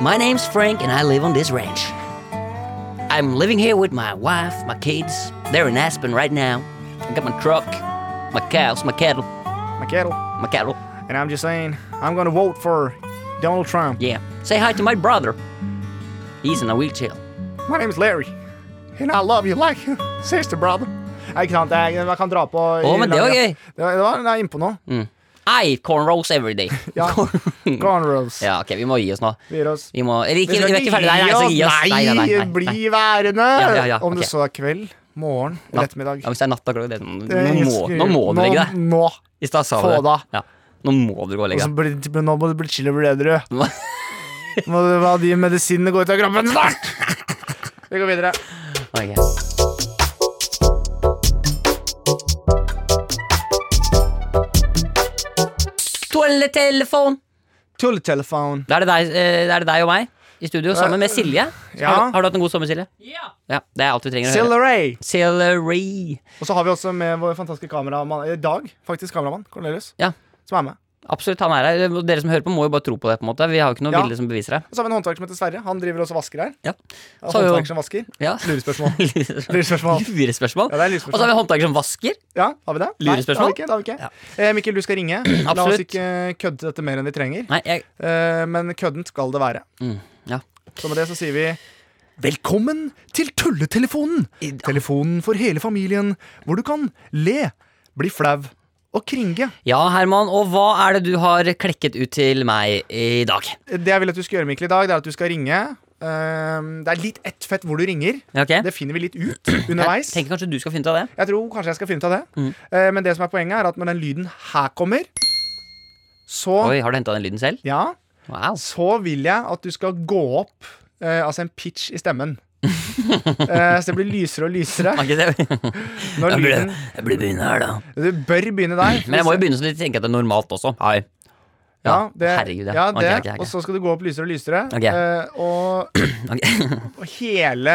my name's Frank and I live on this ranch. I'm living here with my wife, my kids. They're in Aspen right now. I got my truck, my cows, my cattle, My kettle. my cattle. And I'm just saying, I'm gonna vote for Donald Trump. Yeah. Say hi to my brother. He's in a wheelchair. My name is Larry. And I love you like your sister, brother. Nei, ikke sant, det er- Man kan dra på i Å, men det var lange- gøy. Mm. Det var, det var, det er innpå nå. I eat cornrows every day. Ja. Cornrows. ja, ok, vi må gi oss nå. Vi gir oss. Vi må Eller Vi ikke, vi skal er ikke ferdig. Nei, nei, altså, gi oss. Nei, nei, nei, Nei, nei. bli værende! Ja, ja, ja, Om ok. det så er kveld, morgen eller ettermiddag. Ja, hvis det er natt, da klokka det- Det er Nå må, ingen- nå må du nå- legge deg. Nå. I stad sa du Få det. da. Ja. Nå må du gå og Og legge så deg. blir det- Nå må du bli chill og bli edru. Nå- Må du la de medisinene gå ut av kroppen snart! Vi går videre. Ok. Toaletelefon! Tulletelefon. Da er det, deg, eh, da er det deg og meg i studio sammen med Silje. Eh, ja. Har, du- har du hatt en god sommer, Silje? Ja, Det er alt vi trenger å høre. Celery. Celery. Og så har vi også med vår fantastiske kameramann i dag, faktisk kameramann Cornelius, Ja. som er med. Absolutt, han er her. Eh, Dere som hører på, må jo bare tro på det. på en måte Vi har jo ikke noen Ja. bilder som beviser Og det. så har vi en håndverker som heter Sverre. Han driver også og vasker her. Ja. Så har vi jo- Håndverker som vasker. Ja. Lurespørsmål. Lurespørsmål. Lurespørsmål. Ja, det er Og så har lurespørsmål. vi håndtaker som vasker. Ja, har vi det? Lurespørsmål? Nei, det har vi ikke. Det har vi ikke. Eh, Mikkel, du skal ringe. La oss Absolutt. ikke eh, kødde dette mer enn vi trenger. Nei, jeg Eh, men køddent skal det være. mm, Ja. Så med det så sier vi Velkommen til Tulletelefonen! Telefonen for hele familien, hvor du kan le, bli flau og kringe. Ja, Herman, og hva er det du har klekket ut til meg i dag? Det jeg vil at du skal gjøre, Mikkel, i dag, det er at du skal ringe. Eh, det er litt ett fett hvor du ringer. Ja, Ok? Det finner vi litt ut Jeg underveis. tenker kanskje du skal finne ut av det. Jeg tror kanskje jeg skal finne ut av det. Mm. Eh, men det som er poenget, er at når den lyden her kommer, så Oi, har du henta den lyden selv? Ja. Wow. så vil jeg at du skal gå opp eh, Altså en pitch i stemmen. Eh, så det blir lysere og lysere. Har ikke Når det? Jeg burde, lyden, jeg burde begynne her, da. du bør begynne der. Men jeg må jo begynne sånn at de tenker at det er normalt også. Hei. ja, Ja, det, herregud, ja. ja. Ok, det, ok, ok. Og så skal du gå opp lysere og lysere. Ok. Eh, og, Ok. og hele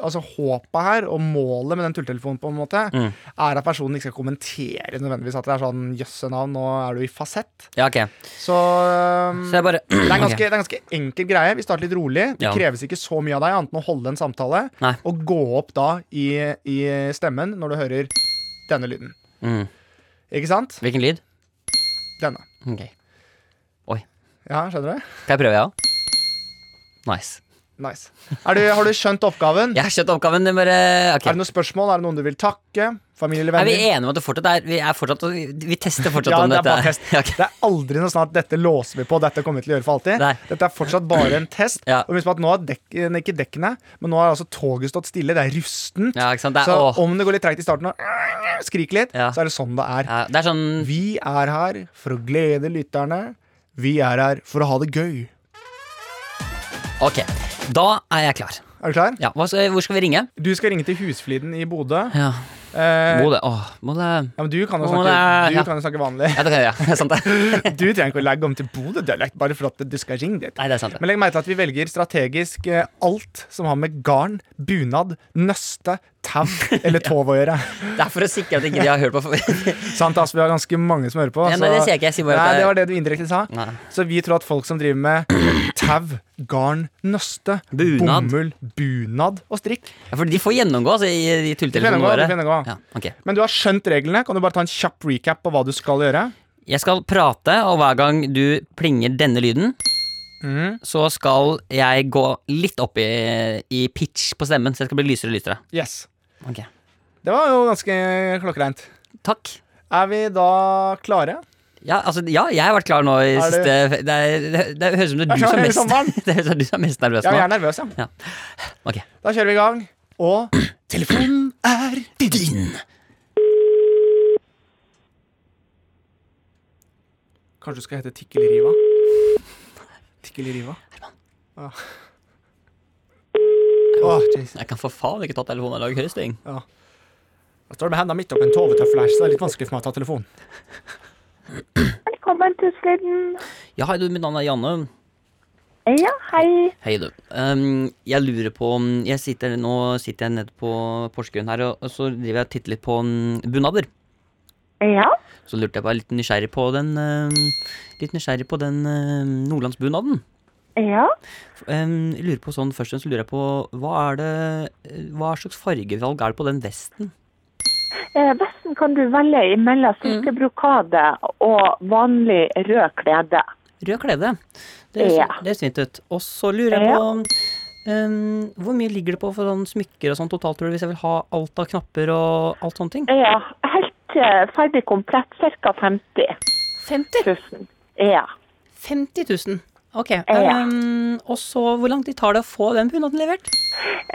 altså, håpet her, og målet med den tulltelefonen, på en måte, Mm. er at personen ikke skal kommentere nødvendigvis at det er sånn jøsse navn, nå er du i fasett. Ja, ok. Så, eh, Så jeg bare Det er, en ganske, Ok. det er en ganske enkel greie. Vi starter litt rolig. Det Ja. kreves ikke så mye av deg, annet enn å holde en samtale. Nei. Og gå opp da i, i stemmen når du hører denne lyden. Mm. Ikke sant? Hvilken lyd? Denne. Ok. Ja, skjønner du? Skal jeg prøve, ja? Nice. Nice. Er du, har du skjønt oppgaven? Jeg har skjønt oppgaven. Det er bare, ok. Er det noen spørsmål? Er det noen du vil takke? Familie eller Er vi venner? enige om at det fortsatt er Vi, er fortsatt, vi- vi tester fortsatt Ja, om det er dette. bare test. Ja, ok. Det er aldri noe sånn at dette låser vi på, dette kommer vi til å gjøre for alltid. Nei. Dette er fortsatt bare en test. Ja. Og husk på at nå er dekk, eh, ikke dekkene, men nå har altså toget stått stille, det er rustent. Ja, ikke sant? Det er, så åh, om det går litt treigt i starten og øh, skrik litt, Ja. så er det sånn det er. ja, det er sånn Vi er her for å glede lytterne. Vi er her for å ha det gøy. Ok, da er jeg klar. Er du klar? Ja, hva, skal- hvor skal vi ringe? Du skal ringe til Husfliden i Bodø. Ja. Eh, Må det, åh, må det ja, men du kan jo Å, snakke, det er- du ja. kan jo snakke vanlig. Ja, det kan jeg gjøre. Det er sant, det. Du trenger ikke å legge om til Bodø-dialekt bare for at du skal ringe dit. Nei, det er sant, det. Men legg merke til at vi velger strategisk eh, alt som har med garn, bunad, nøste, tau eller tov å gjøre. Det er for å sikre at ikke de har hørt på. for- Sant, ass, vi har ganske mange som hører på. Ja, nei, det sier jeg ikke. Jeg sier bare at nei, det- det var det du indirekte sa. Nei. Så vi tror at folk som driver med tau, garn, nøste, Bunad. bomull, bunad og strikk Ja, for de får gjennomgå altså, i, i Gjennomgå, tulletelefonene våre. du får gjennomgå. Ja, ok. Men du har skjønt reglene. Kan du bare ta en kjapp recap på hva du skal gjøre? Jeg skal prate, og hver gang du plinger denne lyden, Mm, så skal jeg gå litt opp i, i pitch på stemmen, så jeg skal bli lysere og lysere. Yes. Ok, Det var jo ganske klokkereint. Takk. Er vi da klare? Ja, altså, ja, jeg har vært klar nå i Er du- siste det, er, det, det høres ut som det Jeg er er du som er klar hele mest, det høres ut som du som er mest nervøs Ja, vi nå. er nervøse, ja. Ja. Ok. Da kjører vi i gang. Og telefonen er Din. Kanskje du skal hete Tikkelriva? Tikkelriva? Ja. Ah. Åh, Jesus. Jeg kan for faen ikke ta telefonen og lage høysting. Ja. Jeg står med hendene midt oppi en tovetøffel her, så det er litt vanskelig for meg å ta telefonen. Velkommen til Slidden. Ja, hei du, mitt navn er Janne. Ja, hei. Hei du. Ehm, jeg lurer på mm, jeg sitter, Nå sitter jeg nede på Porsgrunn her, og, og så driver jeg og titter litt på mm, bunader. Ja, Så lurte jeg på, jeg er litt nysgjerrig på den ehm, Litt nysgjerrig på den ehm, nordlandsbunaden. ja. Ehm, jeg lurer på sånn, Først og fremst lurer jeg på hva er det Hva slags fargevalg er det på den vesten? Eh, Vesten kan du velge imellom silkebrokade og vanlig rød klede. Rød klede. Det høres Ja. det høres fint ut. Og så lurer jeg Ja. på ehm, Hvor mye ligger det på for sånn smykker og sånn totalt, tror du, hvis jeg vil ha alt av knapper og alt sånne ting? Ja, helt eh, ferdig komplett, ca. 50 50 000. Ja. 50 000. Ok. Ja. ehm, og så hvor lang tid tar det å få den bunaden levert?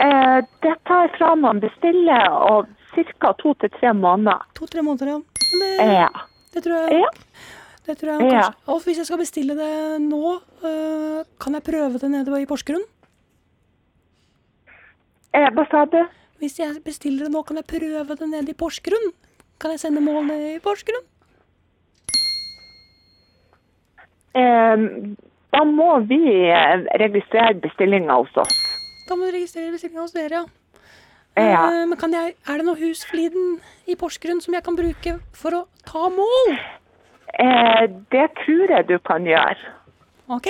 Eh, Det tar fra man bestiller og ca. to til tre måneder. To-tre måneder, ja. Men Det, Ja. det tror jeg. ja. Det tror jeg Ja. kanskje. Og hvis jeg skal bestille det nå, øh, kan jeg prøve det nede i Porsgrunn? Eh, Hva sa du? Hvis jeg bestiller det nå, kan jeg prøve det nede i Porsgrunn? Kan jeg sende målene i Porsgrunn? Eh, Da må vi eh, registrere bestillinga hos oss. Da må du registrere bestillinga hos dere, ja. Ja. Eh, Men kan jeg, er det noe hus for tiden i Porsgrunn som jeg kan bruke for å ta mål? Eh, Det tror jeg du kan gjøre. OK,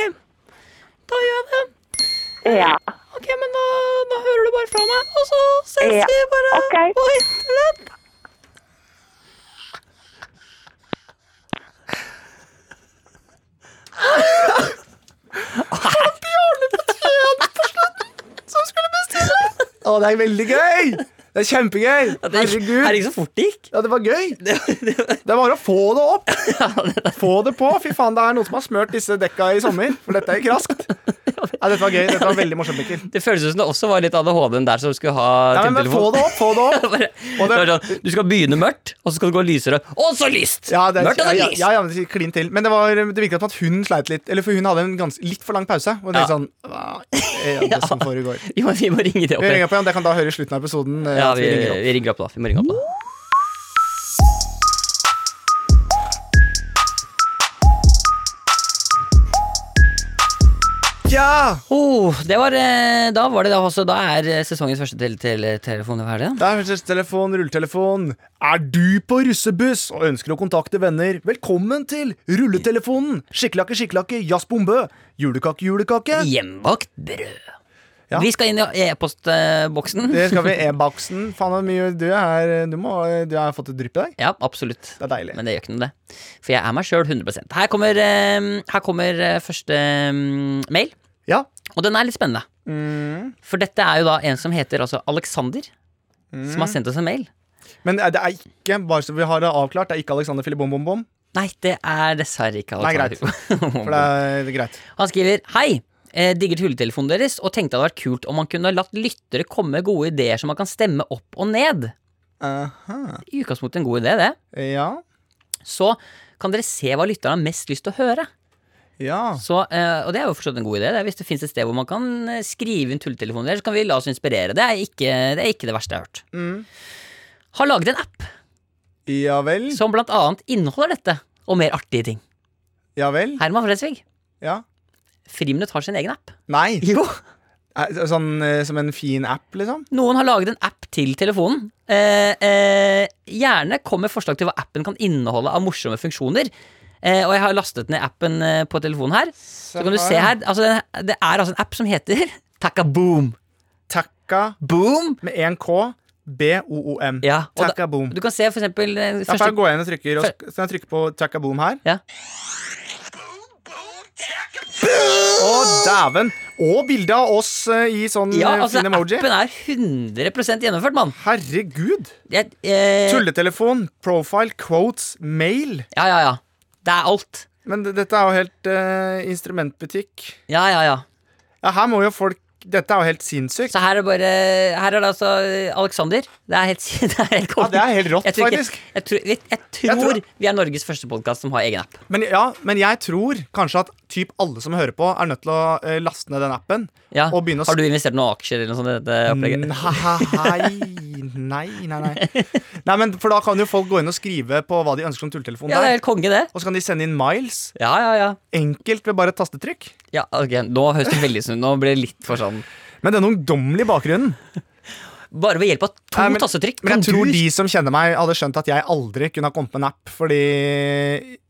da gjør jeg det. Ja. OK, men da, da hører du bare fra meg, og så ses Ja, vi bare ok. på internett. Å, det er veldig gøy! Det er kjempegøy! Herregud. så fort det gikk? Ja, det var gøy! Det var å få det opp! Få det på! Fy faen, det er noen som har smurt disse dekka i sommer, for dette gikk raskt. Ja, dette var gøy. Dette var veldig morsomt, Mikkel. Det føles ut som det også var litt ADHD-en der som skulle ha Nei, men, men få telefon. det opp! Få det opp! Bare- Og det- det var sånn, du skal begynne mørkt, og så skal det gå lysere. Og så lyst! Ja, det, mørkt og så ja, lyst! ja, ja, det er klin til. Men det, var, det virket som at hun sleit litt. Eller for hun hadde en gans, litt for lang pause. Og Ja. tenkte sånn Hva er det som foregår? Vi, må, vi må ringe det opp. Vi ringer på igjen. Det kan da høre i slutten av episoden. eh, ja, at vi, vi ringer opp. vi ringer opp da. Vi må ringe opp da. Ja! Oh, det var, eh, da var det da også. Da er eh, sesongens første tel- tel- telefon ferdig. Det er hørselstelefon, rulletelefon. Er du på russebuss og ønsker å kontakte venner? Velkommen til rulletelefonen! Skikkelakke, skikkelakke, jazzbombe. Julekake, julekake. Hjemmebakt brød. Ja. Vi skal inn i e-postboksen. Det skal vi e-baksen. Faen, hvor mye du er Du, må, du har fått et drypp i dag. Ja, absolutt. Det er deilig. Men det gjør ikke noe, det. For jeg er meg sjøl 100 Her kommer, eh, her kommer eh, første eh, mail. Ja, Og den er litt spennende. Mm. For dette er jo da en som heter altså Alexander, som har Mm. sendt oss en mail. Men det er ikke bare så vi har det avklart, det er ikke Alexander Filibom-bom-bom. Nei, det er dessverre ikke Nei, greit. Alexander. For det er det er greit. Han skriver Hei! eh, Digger tuletelefonen deres og tenkte det hadde vært kult om man kunne latt lyttere komme med gode ideer som man kan stemme opp og ned. Aha. I utgangspunktet en god idé, det. Ja. Så kan dere se hva lytterne har mest lyst til å høre. Ja. Så, eh, og det er jo forstått en god idé. Det er hvis det fins et sted hvor man kan eh, skrive inn tulletelefonen deres, så kan vi la oss inspirere. Det er ikke det, er ikke det verste jeg har hørt. Mm. Har laget en app Ja vel. som blant annet inneholder dette og mer artige ting. Ja vel. Herman Flesvig, Ja. Friminutt har sin egen app. Nei. Jo. Er- Sånn eh, som en fin app, liksom? Noen har laget en app til telefonen. Eh, eh, gjerne kom med forslag til hva appen kan inneholde av morsomme funksjoner. Eh, og jeg har lastet ned appen eh, på telefonen her. Så kan du se her. Altså, den- det er altså en app som heter Takaboom. Takka Boom! med 1K. B-O-O-M. Ja, og da- Takka boom. Du kan se for eksempel eh, Ja, for jeg første går inn og trykker, og sk- så jeg trykker på takka boom her. Ja. Å, dæven! Og bilde av oss eh, i sånn Ja, eh, altså, fin emoji. appen er 100 gjennomført, mann. Herregud! Jeg, eh, Tulletelefon, profile, quotes, mail. ja, ja, ja. Det er alt. Men d- dette er jo helt eh, instrumentbutikk. Ja, ja, ja. Ja, her må jo folk Dette er jo helt sinnssykt. Så her er bare Her er det altså Alexander. Det er helt, det er helt Ja, det er helt rått, Jeg tror, ikke- faktisk. Jeg tror, jeg, jeg tror, tror- vi er Norges første podkast som har egen app. Men, ja, men jeg tror kanskje at typ alle som hører på, er nødt til å eh, laste ned den appen. Ja. Og begynne å Mm, Har du investert noen aksjer eller noe sånt? i Dette opplegget? Nei, nei, nei, nei. nei men, for da kan jo folk gå inn og skrive på hva de ønsker som tulletelefon Ja, det er der. helt konge, det. Og så kan de sende inn miles. Ja, ja, ja. Enkelt ved bare et tastetrykk. ja ok, Nå høres det veldig sånn Nå blir det litt for sånn Men denne ungdommelige bakgrunnen Bare ved hjelp av to Nei, men- tassetrykk. Men jeg kan tror du- de som kjenner meg, hadde skjønt at jeg aldri kunne ha kommet med en app. Fordi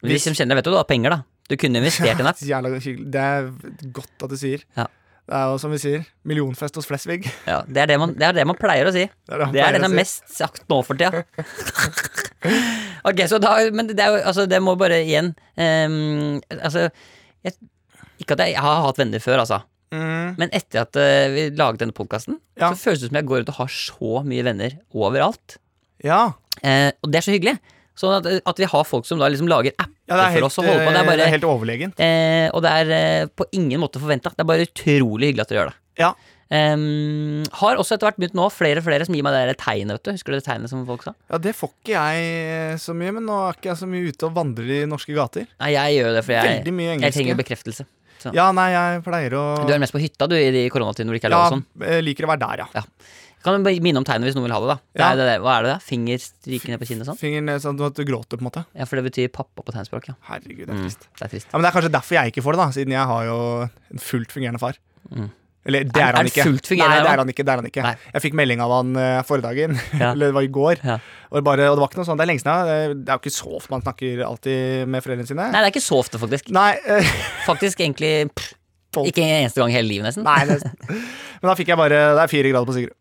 de som kjenner deg, vet jo du har penger, da. Du kunne investert i en app. Jævla hyggelig. Det er godt at du sier. Ja. Det er jo som vi sier, millionfest hos Flesvig. Det Ja, det, er det, man, det er det man pleier å si. er det han Det er pleier å det som er si. mest sagt nå for tida. Ok, så da Men det er jo Altså, det må bare igjen ehm, Altså jeg, Ikke at jeg, jeg har hatt venner før, altså. Mm. Men etter at eh, vi laget denne podkasten, Ja. så føles det som jeg går ut og har så mye venner overalt. Ja. Eh, og det er så hyggelig. Sånn at, at vi har folk som da liksom lager apper ja, det er for helt, oss å holde på. Det er det bare, er helt overlegent. eh, og det er eh, på ingen måte forventa. Det er bare utrolig hyggelig at dere gjør det. Ja. Ehm, har også etter hvert begynt nå flere og flere som gir meg det der tegnet, vet du. Husker du det tegnet som folk sa? Ja, det får ikke jeg eh, så mye, men nå er ikke jeg så mye ute og vandrer i norske gater. Nei, jeg gjør jo det, for Veldig jeg, mye jeg engelske. trenger bekreftelse. ja, nei, jeg pleier å Du er mest på hytta, du, i de koronatiden hvor det ikke er ja, lov og sånn. jeg liker å være der, ja. Kan du bare minne om tegnet hvis noen vil ha det, da. Det Ja. er det der, hva er det, da? Finger stryker ned på kinnet og sånn? Fingeren ned sånn at du gråter, på en måte. Ja, for det betyr pappa på tegnspråk, ja. Herregud, det er Mm, trist. det er trist. Ja, men Det er kanskje derfor jeg ikke får det, da siden jeg har jo en fullt fungerende far. Mm. Eller det Er- er, er han det ikke. fullt fungerende, Nei, det da? er han ikke. det er han ikke Nei. Jeg fikk melding av han eh, forrige dagen, Ja. eller det var i går. Ja. Og, det bare, og det var ikke noe sånt, det er lenge siden. eh, Det er jo ikke så ofte man snakker alltid med foreldrene sine. Nei, det er ikke så ofte, faktisk. Nei, eh, Faktisk egentlig pff, Tolv. ikke en eneste gang i hele livet, nesten. nei det, Men da fikk jeg bare Det er fire grader på Sigurd.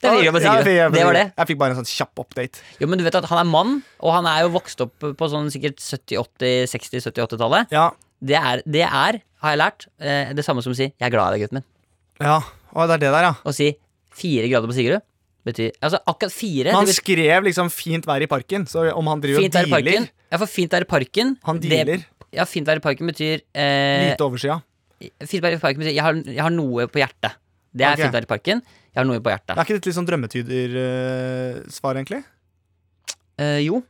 Det, er fire på Ja, Sigurd. fire grader på det var det. Sigurd. Jeg fikk bare en sånn kjapp update. Jo, men du vet at han er mann, og han er jo vokst opp på sånn sikkert 70-80, 60-70-80-tallet. Ja, Det, er- det er, har jeg lært, eh, det samme som å si 'jeg er glad i deg, gutten min'. ja. Å, det er det der, ja. Å si 'fire grader på Sigurd' betyr Altså akkurat Men fire. det han betyr- skrev liksom 'fint vær i parken', så om han driver Fint vær i og dealer parken. Ja, for fint vær i parken Han det- dealer. Ja, fint vær i parken betyr eh, Lite oversida. Fint vær i parken betyr jeg har, jeg har noe på hjertet. Det er Ok. fint vær i parken. Jeg har noe på hjertet. Er ikke dette litt sånn drømmetyder-svar, egentlig? Eh, jo.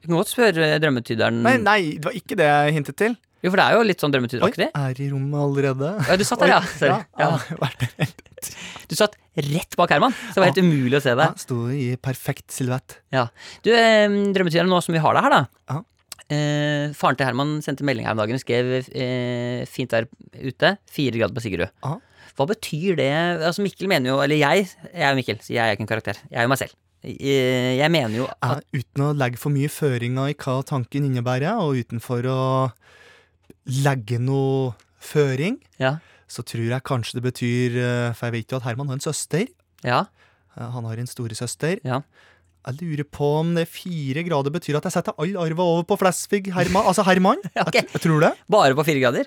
Du kan godt spørre eh, drømmetyderen. Nei, nei, det var ikke det jeg hintet til. Jo, for det er jo litt sånn Oi, drømmetyderaktig. er i rommet allerede. Ja, du satt der, ja. Sorry. ja, Ja. vært der. Du satt rett bak Herman, så det var helt umulig å se ja, deg. Sto i perfekt silhuett. Ja. Du, eh, drømmetyderen, nå som vi har deg her, da. Ja. Eh, faren til Herman sendte melding her om dagen og skrev eh, 'fint der ute', fire grader på Sigrud. Ja. Hva betyr det? Altså Mikkel mener jo, eller jeg, jeg er jo Mikkel, så jeg er ikke en karakter. Jeg er jo meg selv. Eh, Jeg mener jo Ja, at uten å legge for mye føringer i hva tanken innebærer, og utenfor å legge noe føring, Ja. så tror jeg kanskje det betyr eh, For jeg vet jo at Herman har en søster. ja. Eh, Han har en storesøster. Ja. Jeg lurer på om det fire grader betyr at jeg setter all arva over på Flesvig Herman. Altså Herman. Ok. Jeg, jeg tror det. Bare på fire grader?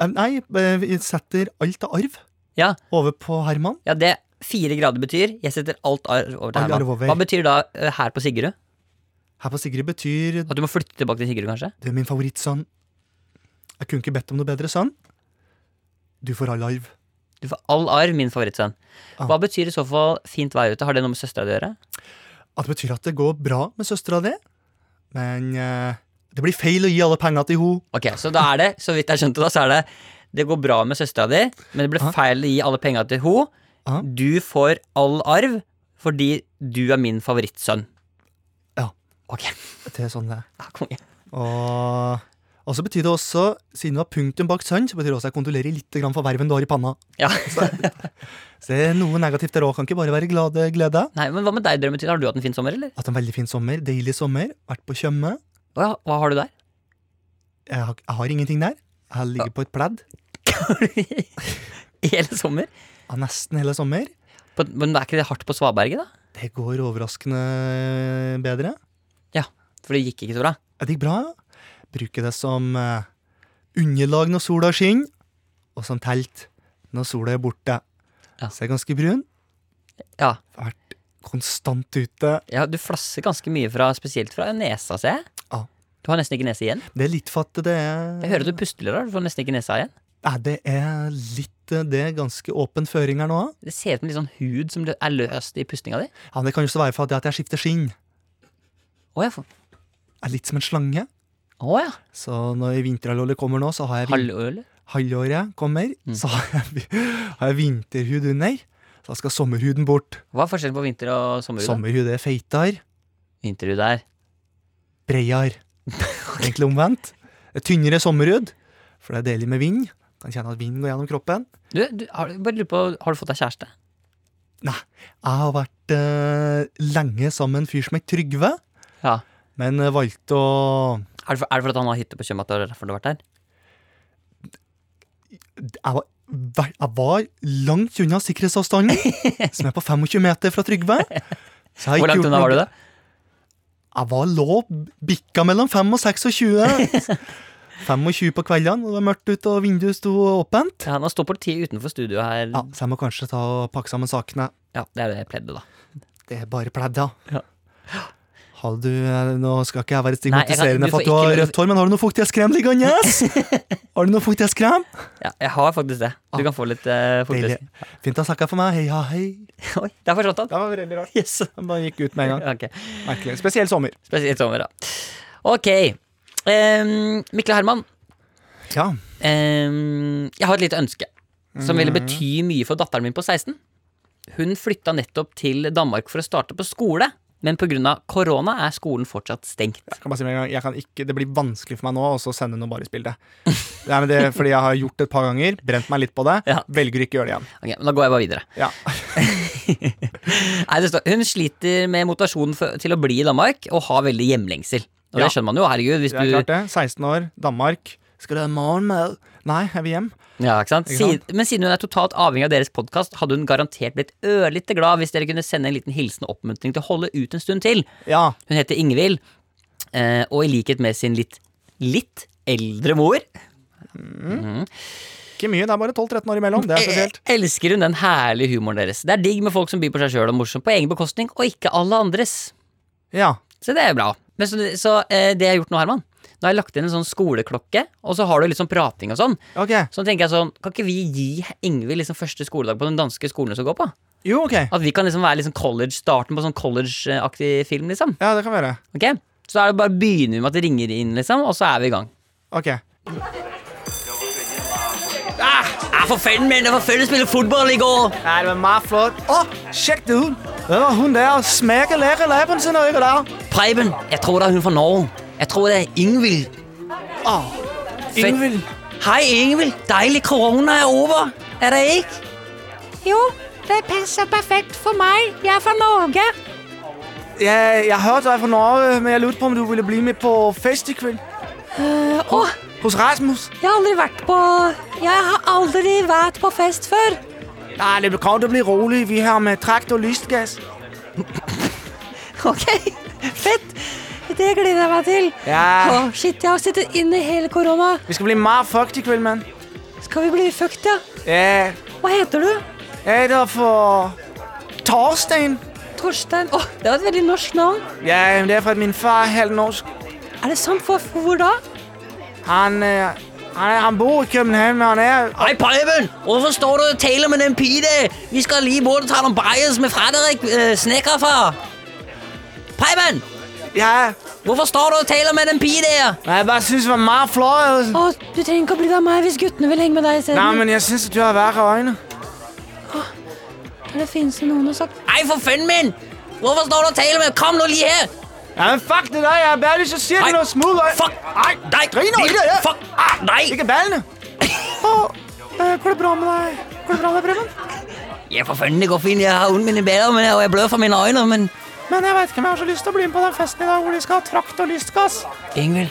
Eh, Nei, eh, vi setter alt av arv Ja, Over på Herman. ja det fire grader betyr Jeg setter alt arv over til All arv Herman. over. Hva betyr da eh, her på Sigrud? Her på Sigrid betyr At du må flytte tilbake til Sigrud, kanskje? Du er min favorittsønn. Jeg kunne ikke bedt om noe bedre, sønn. Du får all arv. Du får all arv, min favorittsønn. Ah. Hva betyr i så fall fint vær ute? Har det noe med søstera di å gjøre? At det betyr at det går bra med søstera di, men eh, det blir feil å gi alle penga til henne. Ok, Så da er det, så vidt jeg skjønte, da, så er det det går bra med søstera di, men det ble Ah. feil å gi alle penga til ho. Ah. Du får all arv fordi du er min favorittsønn. Ja. Ah, Ok. Det er sånn det er. Ja, konge. Og, og så betyr det også, siden du har punktum bak sønn, så betyr det også at jeg kondolerer litt grann for verven du har i panna. Ja. Så det er noe negativt der òg. Kan ikke bare være glade glede. Nei, men Hva med deg, Drømmetid? Har du hatt en fin sommer, eller? Hatt en veldig fin sommer. Deilig sommer. Vært på Tjøme. Å ja, hva har du der? Jeg har, jeg har ingenting der. Jeg ligger på et pledd I hele sommer? ja, nesten hele sommer. På, men er ikke det hardt på svaberget, da? Det går overraskende bedre. For det gikk ikke så bra. Ja, Det gikk bra. ja. Bruker det som eh, underlag når sola skinner, og som telt når sola er borte. Ja. Så jeg er ganske brun. Ja. Vært konstant ute. ja, Du flasser ganske mye fra, spesielt fra nesa, ser jeg. Ja. Du har nesten ikke nese igjen. Det er litt for at det er Jeg hører at du puster litt rart. Du får nesten ikke nesa igjen. Nei, det er litt eh, Det er ganske åpen føring her nå. Det ser ut som litt sånn hud som er løst i pustinga di. Ja, men Det kan jo også være for at det at jeg skifter skinn. Å ja. for- Jeg er litt som en slange. Å, ja. Så når vinterhalvåret kommer nå, så har jeg vin- Halvøl. halvåret kommer, Mm. så har jeg, vi- har jeg vinterhud under. Så da skal sommerhuden bort. Hva er forskjellen på vinter- og sommerhud? da? Sommerhud er feitere, Vinterhud er breiere. Egentlig omvendt. Det er Tynnere sommerhud, for det er deilig med vind. Kan kjenne at vinden går gjennom kroppen. du, du, har, Bare lurer på, har du fått deg kjæreste? Jeg har vært eh, lenge sammen med en fyr som het Trygve, Ja. men eh, valgte å Er det, for, er det for at han har hytte på Tjøme at det er derfor du har vært der? jeg var, ver- jeg var langt unna sikkerhetsavstanden, som er på 25 meter fra Trygve. Så jeg har ikke Hvor langt gjort unna noe- var du da? Jeg var lå bikka mellom 5 og 26. 25 på kveldene, og det var mørkt ute, og vinduet sto åpent. Ja, nå står politiet utenfor studioet her. Ja, så jeg må kanskje ta og pakke sammen sakene. Ja, Det er det jeg pledde, da. Det er bare pledd, ja. Ja. Har du, eh, nå skal ikke jeg være Nei, jeg kan- stigmatiserende for du får at du ikke har lov- rødt hår, men har du noe fuktighetskrem liggende? har du noe fuktighetskrem? Ja, jeg har faktisk det. Du Ah. kan få litt uh, Deilig. forklesning. Fint å ha snakka for meg. Hei, ja, hei. Oi, der forsvant han. Det var veldig rart. Yes. Den bare gikk ut med en gang. Ok, Merkelig. Spesiell sommer. Spesielt sommer, da. Ok. Um, Mikkel og Herman, Ja. em, jeg har et lite ønske som ville Mm. bety mye for datteren min på 16. Hun flytta nettopp til Danmark for å starte på skole, men pga. korona er skolen fortsatt stengt. Jeg kan bare si med en gang, jeg kan ikke, det blir vanskelig for meg nå å så sende noe barisbilde. Nei, men det er fordi jeg har gjort det et par ganger, brent meg litt på det. Ja. Velger ikke å gjøre det igjen. Ok, men Da går jeg bare videre. Ja. Nei, det står, hun sliter med motivasjonen for, til å bli i Danmark og har veldig hjemlengsel. Og Ja. det skjønner man jo, herregud. Hvis Det er du, klart det. 16 år, Danmark. Skal du ha morgenmad? Nei, jeg vil hjem. Ja, ikke sant? Ikke sant? Siden- men siden hun er totalt avhengig av deres podkast, hadde hun garantert blitt ørlite glad hvis dere kunne sende en liten hilsen og oppmuntring til å holde ut en stund til. Ja. Hun heter Ingvild, eh, og i likhet med sin litt, litt eldre mor Ikke mye, det er bare 12-13 år imellom. Det er eh, spesielt. elsker hun den herlige humoren deres. Det er digg med folk som byr på seg sjøl og morsomt på egen bekostning, og ikke alle andres. Ja. Så det er bra. Men så, så eh, det jeg har gjort nå, Herman Nå har jeg lagt inn en sånn skoleklokke, og så har du litt sånn prating og sånn. Ok. Så tenker jeg sånn, kan ikke vi gi Ingvild liksom første skoledag på den danske skolen som går på? Jo, ok. At vi kan liksom være liksom college, starten på sånn college-aktig film, liksom. Ja, det kan være. Ok? Så da er det bare å begynne med at det ringer inn, liksom, og så er vi i gang. Ok. Ja, Ah, for faen, men det var før du spilte fotball i går! Ja, det var meget flot. Åh, sjekk det ut! Det var hun der og smekker lækker læppen sin øye der. Preben, jeg tror det er hun fra Norge. Jeg tror det er Ingvild. Åh, Ingvild. Hei, Ingvild. Deilig korona er over. Er det ikke? Jo, det passer perfekt for meg. Jeg er fra Norge. Ja, jeg hørte dig fra Norge, øh, men jeg lurte på, om du ville bli med på fest i kveld. Åh, Hos Rasmus. jeg har aldri vært på Jeg har aldri vært på fest før. Nej, det kommer til at blive roligt. Vi er her med trakt og lystgas. OK, fett. Det gleder jeg meg til. Ja, Åh, shit, jeg har sittet inne hele korona. vi skal blive meget fucked i kveld, mand. Skal vi bli fucked, ja? Ja, Hva heter du? Jeg er der for Torstein. Torstein. Åh, det var et veldig norsk navn. Ja, det er fordi min far er helt norsk. Er det sant? Hvor, hvor da? Han, eh, han, er- han bor i København, men han er Hei, Preben! Hvorfor står du og taler med den pide? Vi skal lige bort og tale om bias med Frederik, eh, snekkerfar. Preben! Ja, Hvorfor står du og taler med den pide der? men jeg bare syns det var meget flot. Åh, du trenger ikke å bli av meg hvis guttene vil henge med deg isteden. Nei, men jeg syns at du har verre øyne. Det finnes jo noen som har sagt Hei, for fanden min! Hvorfor står du og taler med Kom nå lige her! Ja, men fuck det der, jeg har bare lyst til å si Nei. deg noe smuløy. Fuck! Nei, Nei! Drit nå i det, ja. Fuck! Ah, Nei! Ikke ballene. Åh, eh, Går det bra med deg? Går det bra med deg, Preben? Ja, for fanden, det går fint. Jeg har ondt mine bærer, men, og jeg blør fra mine øyne, men Men jeg vet ikke om jeg har så lyst til å bli med på den festen i dag hvor de skal ha trakt og lystgass. Ingvild,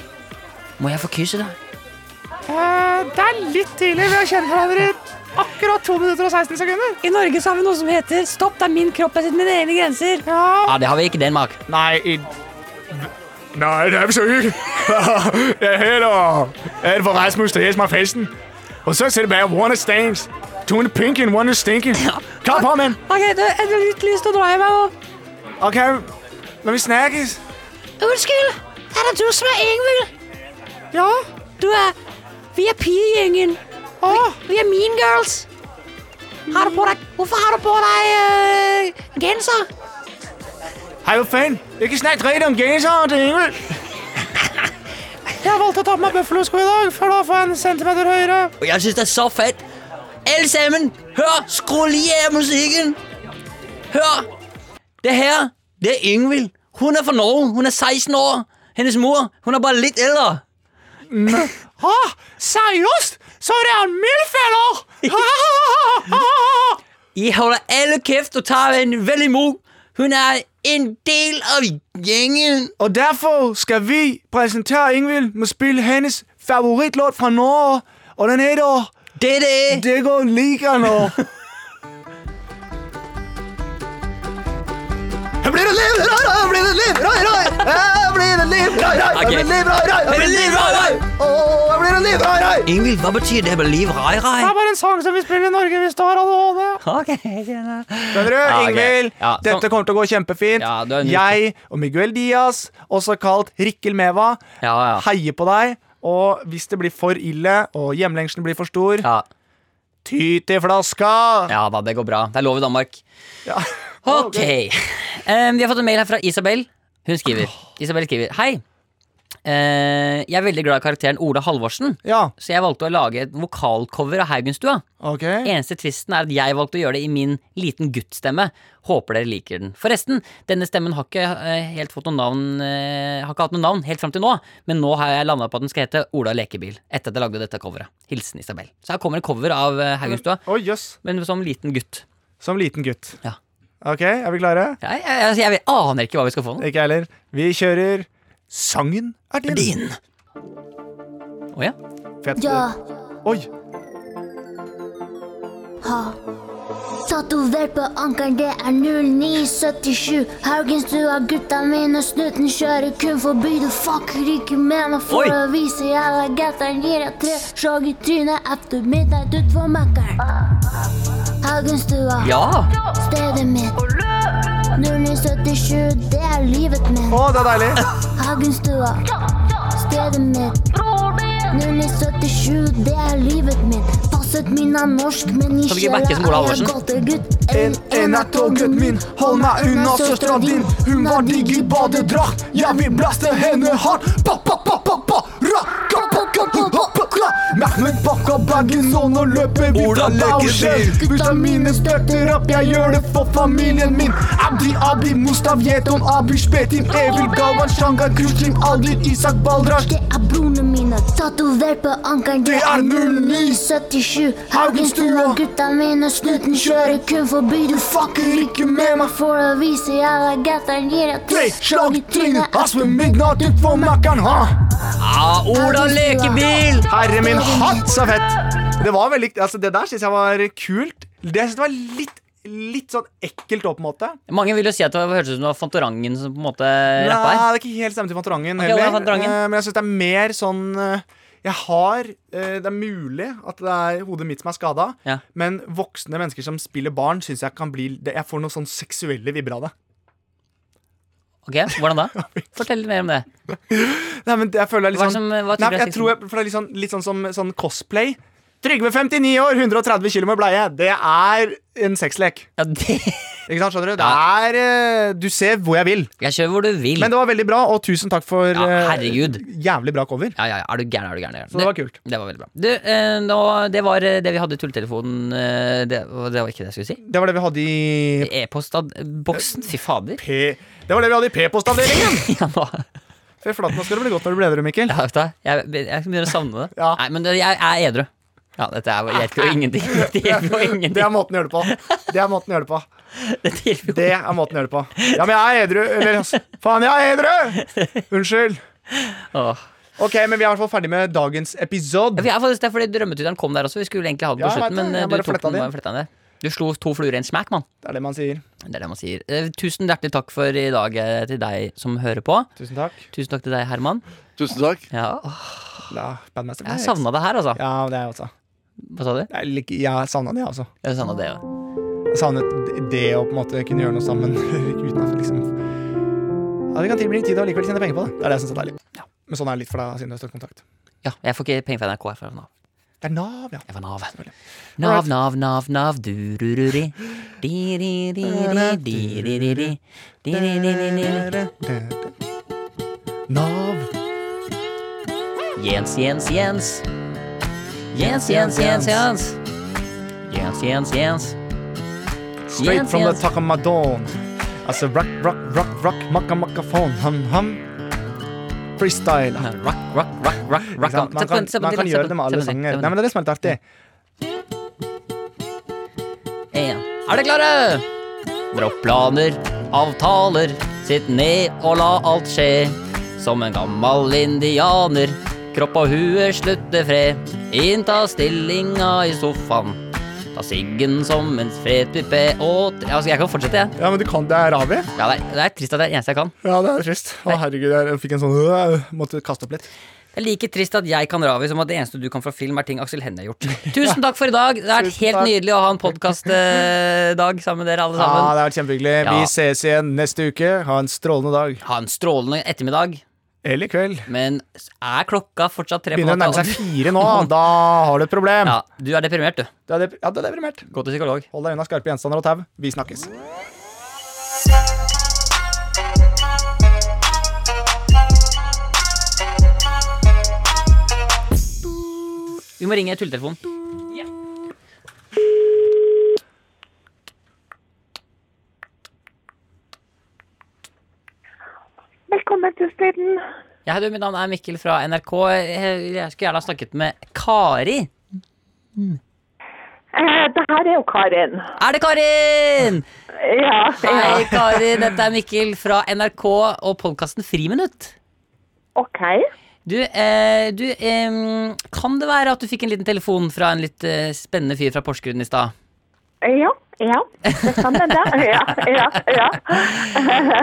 må jeg få kysse deg? Eh, det er litt tidlig. Vi har kjent hverandre i akkurat 2 minutter og 16 sekunder. I Norge så har vi noe som heter 'Stopp, det er min kropp, jeg setter mine egne grenser'. Ja, Ah, det har vi ikke i Danmark. Nei, i Nei, det er vi så ikke. jeg hedder Alvar Rasmus, det er festen. Og så er det bare one is stains. Two in the pink and one is stinking. Kom på, mand. Ok, du, jeg har litt lyst til å dra hjem, jeg òg. Okay, men vi snakkes. Unnskyld, er det du som er Ingvild? Ja. Du er Vi er pigjengen. Åh, Vi er mean girls. Har du på deg Hvorfor har du på deg øh, genser? hej, hvad fanden? Jeg kan snakke rigtigt om genser, og det er Emil. Jeg har valgt å ta på meg bøffelosko i dag, for da får jeg en centimeter høyere. Og jeg synes, det er så fedt. Alle sammen, hør, skru lige af musikken. Hør, det her, det er Ingvild. Hun er fra Norge, hun er 16 år. Hendes mor, hun er bare lidt ældre. Hæ? Seriøst? Så det er en milfælder? I holder alle kæft og tager en vældig mug. Hun er en del af gængen. Og derfor skal vi præsentere Ingvild med spille hendes favoritlåt fra Norge. Og den hedder Det er det. Det går liga nå. Her blir det liv, røy, røy, her blir det liv, røy, røy. Her blir det liv, røy, røy. Her blir det liv, røy, røy. Her blir det liv, røy, røy. Åh, her blir det liv, røy, røy. Ingvild, hvad betyder det med liv rej rej? Det er bare en sang som vi spiller i Norge hvis du har ADHD. Okay. Skjønner du, Ja, ok. Ingvild? Ja, sånn. Dette kommer til å gå kjempefint. Ja, du er en- jeg og Miguel Diaz, også kalt Rikkel Meva, Ja, ja. heier på deg. Og hvis det blir for ille, og hjemlengselen blir for stor, Ja, ty til flaska! ja da, det går bra. Det er lov i Danmark. Ok. Em, vi har fått en mail her fra Isabel. Hun skriver. Isabel skriver Hei. Eh, jeg er veldig glad i karakteren Ola Halvorsen, Ja, så jeg valgte å lage et vokalcover av Haugenstua. ok. Eneste tvisten er at jeg valgte å gjøre det i min liten guttstemme. Håper dere liker den. Forresten, denne stemmen har ikke eh, helt fått noe navn eh, Har ikke hatt noe navn helt fram til nå, men nå har jeg landa på at den skal hete Ola lekebil. Etter at jeg lagde dette coveret. Hilsen Isabel. Så her kommer en cover av eh, Haugenstua, Å, jøss. men som liten gutt. Som liten gutt. Ja. Ok, er vi klare? Jeg, jeg, altså, jeg, jeg aner ikke hva vi skal få nå. Ikke jeg heller. Vi kjører Sangen er din. Din. Å ja. Fett. Ja, Oi. ha. Tatovert på ankeren, det er 0977. Haugenstua, gutta mine, snuten kjører kun forbi. Du fucker ikke med meg for Oi. å vise jævla gatteren. Gir deg tre sjag i trynet etter middag utfor Mækkern. Haugenstua, ja. stedet mitt. 0977, det er livet mitt. Å, det er deilig. Hagenstua, stedet mitt. 0977, det er livet mitt. Passet min er norsk, men Kan du i ikke sjela backe som Ola er Halvorsen? jeg gåtegutt. En, en er toggutt min, hold meg unna søstera din. Hun var digg i badedrakt, jeg vil blaste henne hardt. Ba, ba, ba, ba, ba, ra, ka, ba, ka, ba, ba, ba, kla. Mehmet pakka bagen, og nå løper vi fra Bauskjell. Gutta mine støtter opp, jeg gjør det for familien min. Abdi, Abi, Mustav, Yeton, Abish, Betim, Evil, Galvan, Shangar, Kruslim, Aldir, Isak, Baldrash. Det er brorene mine, tatovert på ankeren. Det er 0977. 77, Haugenstua, gutta mine, snuten kjører kun forbi. Du fucker ikke med meg for å vise jævla gatteren. Gir deg Tre tre slag i trynet, Aspen, Midnatt, utfor Mækkern, ha! Ah, Ola lekebil! Herre min hatt, så fett! Det var veldig, altså det der synes jeg var kult. Det synes jeg var litt, litt sånn ekkelt også, på en måte. Mange vil jo si at det hørtes ut som det var Fantorangen som på en måte Nei, eh, det rappa her. er ikke helt stemme til Fantorangen det heller. var Fantorangen. Eh, Men jeg synes det er mer sånn eh, Jeg har eh, Det er mulig at det er hodet mitt som er skada, Ja. men voksne mennesker som spiller barn, syns jeg kan bli det- Jeg får noen sånn seksuelle vibber av det. Ok, Hvordan da? Fortell litt mer om det. Nei, men det- jeg føler jeg Hva litt er det sånn som- hva typer Nei, jeg rasisme? tror jeg, for det er litt sånn, litt sånn som sånn cosplay. Trygve 59 år, 130 kilo med bleie. Det er en sexlek. Ja, det Ikke sant, skjønner du? Det er eh, Du ser hvor jeg vil. Jeg kjører hvor du vil. Men det var veldig bra, og tusen takk for Ja, eh, herregud. jævlig bra cover. Ja, ja, ja, er du gæren, er du gæren. er du gæren. Så det var kult. Det var veldig bra. Du, eh, nå, det var eh, det vi hadde i tulletelefonen eh, det, det var ikke det jeg skulle si. Det var det vi hadde i E-postboksen? Fy fader. P... Det var det vi hadde i P-postavdelingen! Ja, nå, Fy flate, nå skal det bli godt når du blir edru, Mikkel. ja, vet du hva? jeg, jeg begynner å savne det. Ja. Nei, men det- jeg jeg er edru. Ja, dette er, hjelper jo ingenting. Dette hjelper jo Det er ingenting. måten å gjøre det på. Det er måten å gjøre det på. Dette hjelper jo. Det er måten å gjøre det på. Ja, men jeg er edru. Eller altså, faen, jeg er edru! Unnskyld. Åh. Ok, men vi er i hvert fall ferdig med dagens episode. Ja, vi er faktisk det, fordi Drømmetyderen kom der også. Vi skulle egentlig ha den Ja, på jeg vet slutten, det. men Jeg eh, bare du tok fletta den den bare inn. fletta ned. Du slo to fluer i en smekk, mann. Det er det man sier. Det er det man sier. Eh, Tusen hjertelig takk for i dag eh, til deg som hører på. Tusen takk. Tusen takk til deg, Herman. Tusen takk. Ja, åh, Ja, Bandmaster jeg Flex. savna det her, altså. Ja, det er jeg også. Hva sa du? Jeg, lik- jeg savna det, altså. jeg også. Jeg savna det, ja. Jeg savnet det å på en måte kunne gjøre noe sammen uten at liksom Ja, vi kan tilbringe tid og likevel tjene penger på det. Det er det jeg syns er deilig. Men sånn er det litt for deg siden du har støttekontakt. Ja, jeg får ikke penger fra NRK. Jeg får fra Nav. Det er Nav, ja. Jeg får Nav. Nav, Nav, Nav, Nav, du-ru-ru-ri. Di-ri-ri-ri, di-ri-ri-ri. Di-ri-ri-ri-ri. Nav. Jens, Jens, Jens. Jens, Jens, Jens, Jens. Jens, Jens, Jens. Straight Jens, from Jens. the Takamadon. Altså rock, rock, rock, rock, makka, makka, phone, ham, ham. Freestyle. Ja, Rock, rock, rock, rock, Ikke rock on. sant? Man kan, man kan gjøre det med alle sanger. Nei, men Det er det som er litt artig. En. Er dere klare? Dropp planer, avtaler, sitt ned og la alt skje. Som en gammel indianer, kropp og hue slutter fred. Innta stillinga i sofaen, ta siggen som en fredpipe og tre- altså, Jeg kan fortsette, jeg. Ja, men du kan det er Ravi. Ja, det, er, det er trist at det er det eneste jeg kan. Ja, det er trist. Å, herregud, jeg fikk en sånn øh, Måtte kaste opp litt. Det er like trist at jeg kan Ravi som at det eneste du kan fra film, er ting Aksel Hennie har gjort. Tusen takk for i dag. Det har vært Tusen helt takk. nydelig å ha en podkastdag sammen med dere alle Ja, sammen. det har vært kjempehyggelig. Ja. Vi ses igjen neste uke. Ha en strålende dag. Ha en strålende ettermiddag. Eller kveld. Men er klokka fortsatt tre på Begynner å nærme natta? seg fire nå. Da har du et problem. Ja, du er deprimert, du. Du er dep- Ja, du er deprimert. Gå til psykolog. Hold deg unna skarpe gjenstander og tau. Vi snakkes. Vi må ringe tulletelefonen. Velkommen til stedet. Ja, hei, du, mitt navn er Mikkel fra NRK. Jeg jeg skulle gjerne ha snakket med Kari. Eh, det her er jo Karin. Er det Karin? Ja, ja. Hei, Kari. Dette er Mikkel fra NRK og podkasten Friminutt. OK. Du, eh, du em, kan det være at du fikk en liten telefon fra en litt eh, spennende fyr fra Porsgrunn i stad? Ja, ja. Det stemmer, det. Ja, ja, ja.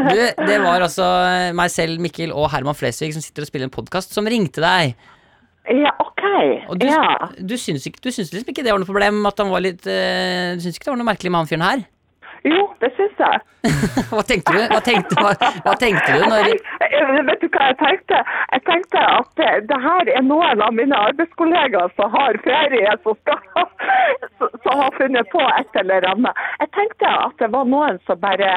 Du, det var altså eh, meg selv, Mikkel og Herman Flesvig som sitter og spiller en podkast, som ringte deg. Ja, OK. Og du, Ja. du, syns ikke, du syns liksom ikke det var noe problem? At han var litt eh, Du syns ikke det var noe merkelig med han fyren her? Jo, det syns jeg. Hva tenkte du? Hva tenkte, hva, hva tenkte du når Eh, Vet du hva jeg tenkte? Jeg tenkte at eh, det her er noen av mine arbeidskollegaer som har ferie, som, skal, som har funnet på et eller annet. Jeg tenkte at det var noen som bare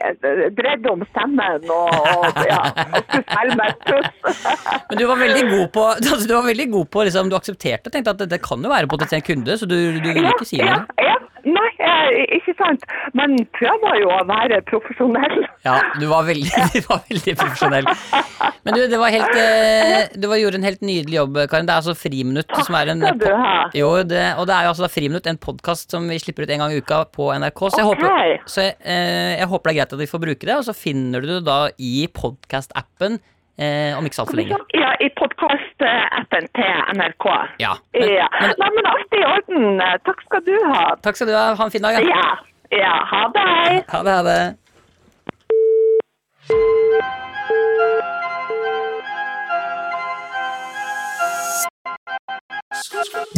eh, dreide om stemmen og, og, ja, og skulle spille med et puss. Men du var veldig god på altså, Du var veldig god på liksom, Du aksepterte og tenkte at dette kan jo være potensiell kunde, så du, du ville ikke si ja, noe. ja. Nei, eh, ikke sant. Men prøver jo å være profesjonell. Ja, du var veldig, du var veldig profesjonell. Men du, det var helt eh, Du var, gjorde en helt nydelig jobb, Karin. Det er altså Friminutt som er en Skal du ha? Jo, det, og det er jo altså da Friminutt, en podkast som vi slipper ut en gang i uka på NRK. Så, jeg, Ok. håper, så jeg, eh, jeg håper det er greit at vi får bruke det, og så finner du det da i podkast-appen eh, om ikke så altfor lenge. Ja, i podkast-appen til NRK. Ja. ja. Nei, men alt er i orden. Takk skal du ha. Takk skal du ha. Ha en fin dag. Ja. Ja, ja ha det. Hei. Ha det, ha det.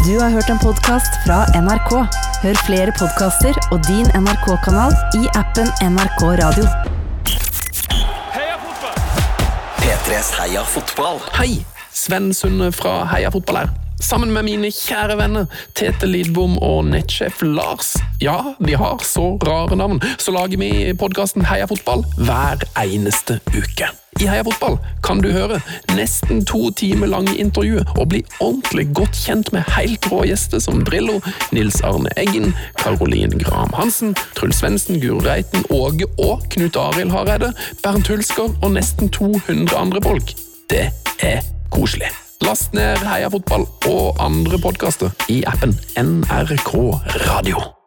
Du har hørt en podkast fra NRK. Hør flere podkaster og din NRK-kanal i appen NRK Radio. P3s Heia fotball. Hei! Sven Sunde fra Heia fotball her. Sammen med mine kjære venner Tete Lidbom og nettsjef Lars. Ja, de har så rare navn. Så lager vi podkasten Heia fotball hver eneste uke. I Heia fotball kan du høre nesten to timer lange intervju og bli ordentlig godt kjent med helt rå gjester som Drillo, Nils Arne Eggen, Caroline Graham Hansen, Truls Svendsen, Guro Reiten, Åge og Knut Arild Hareide, Bernt Hulsker og nesten 200 andre folk. Det er koselig. Last ned Heia fotball og andre podkaster i appen NRK Radio.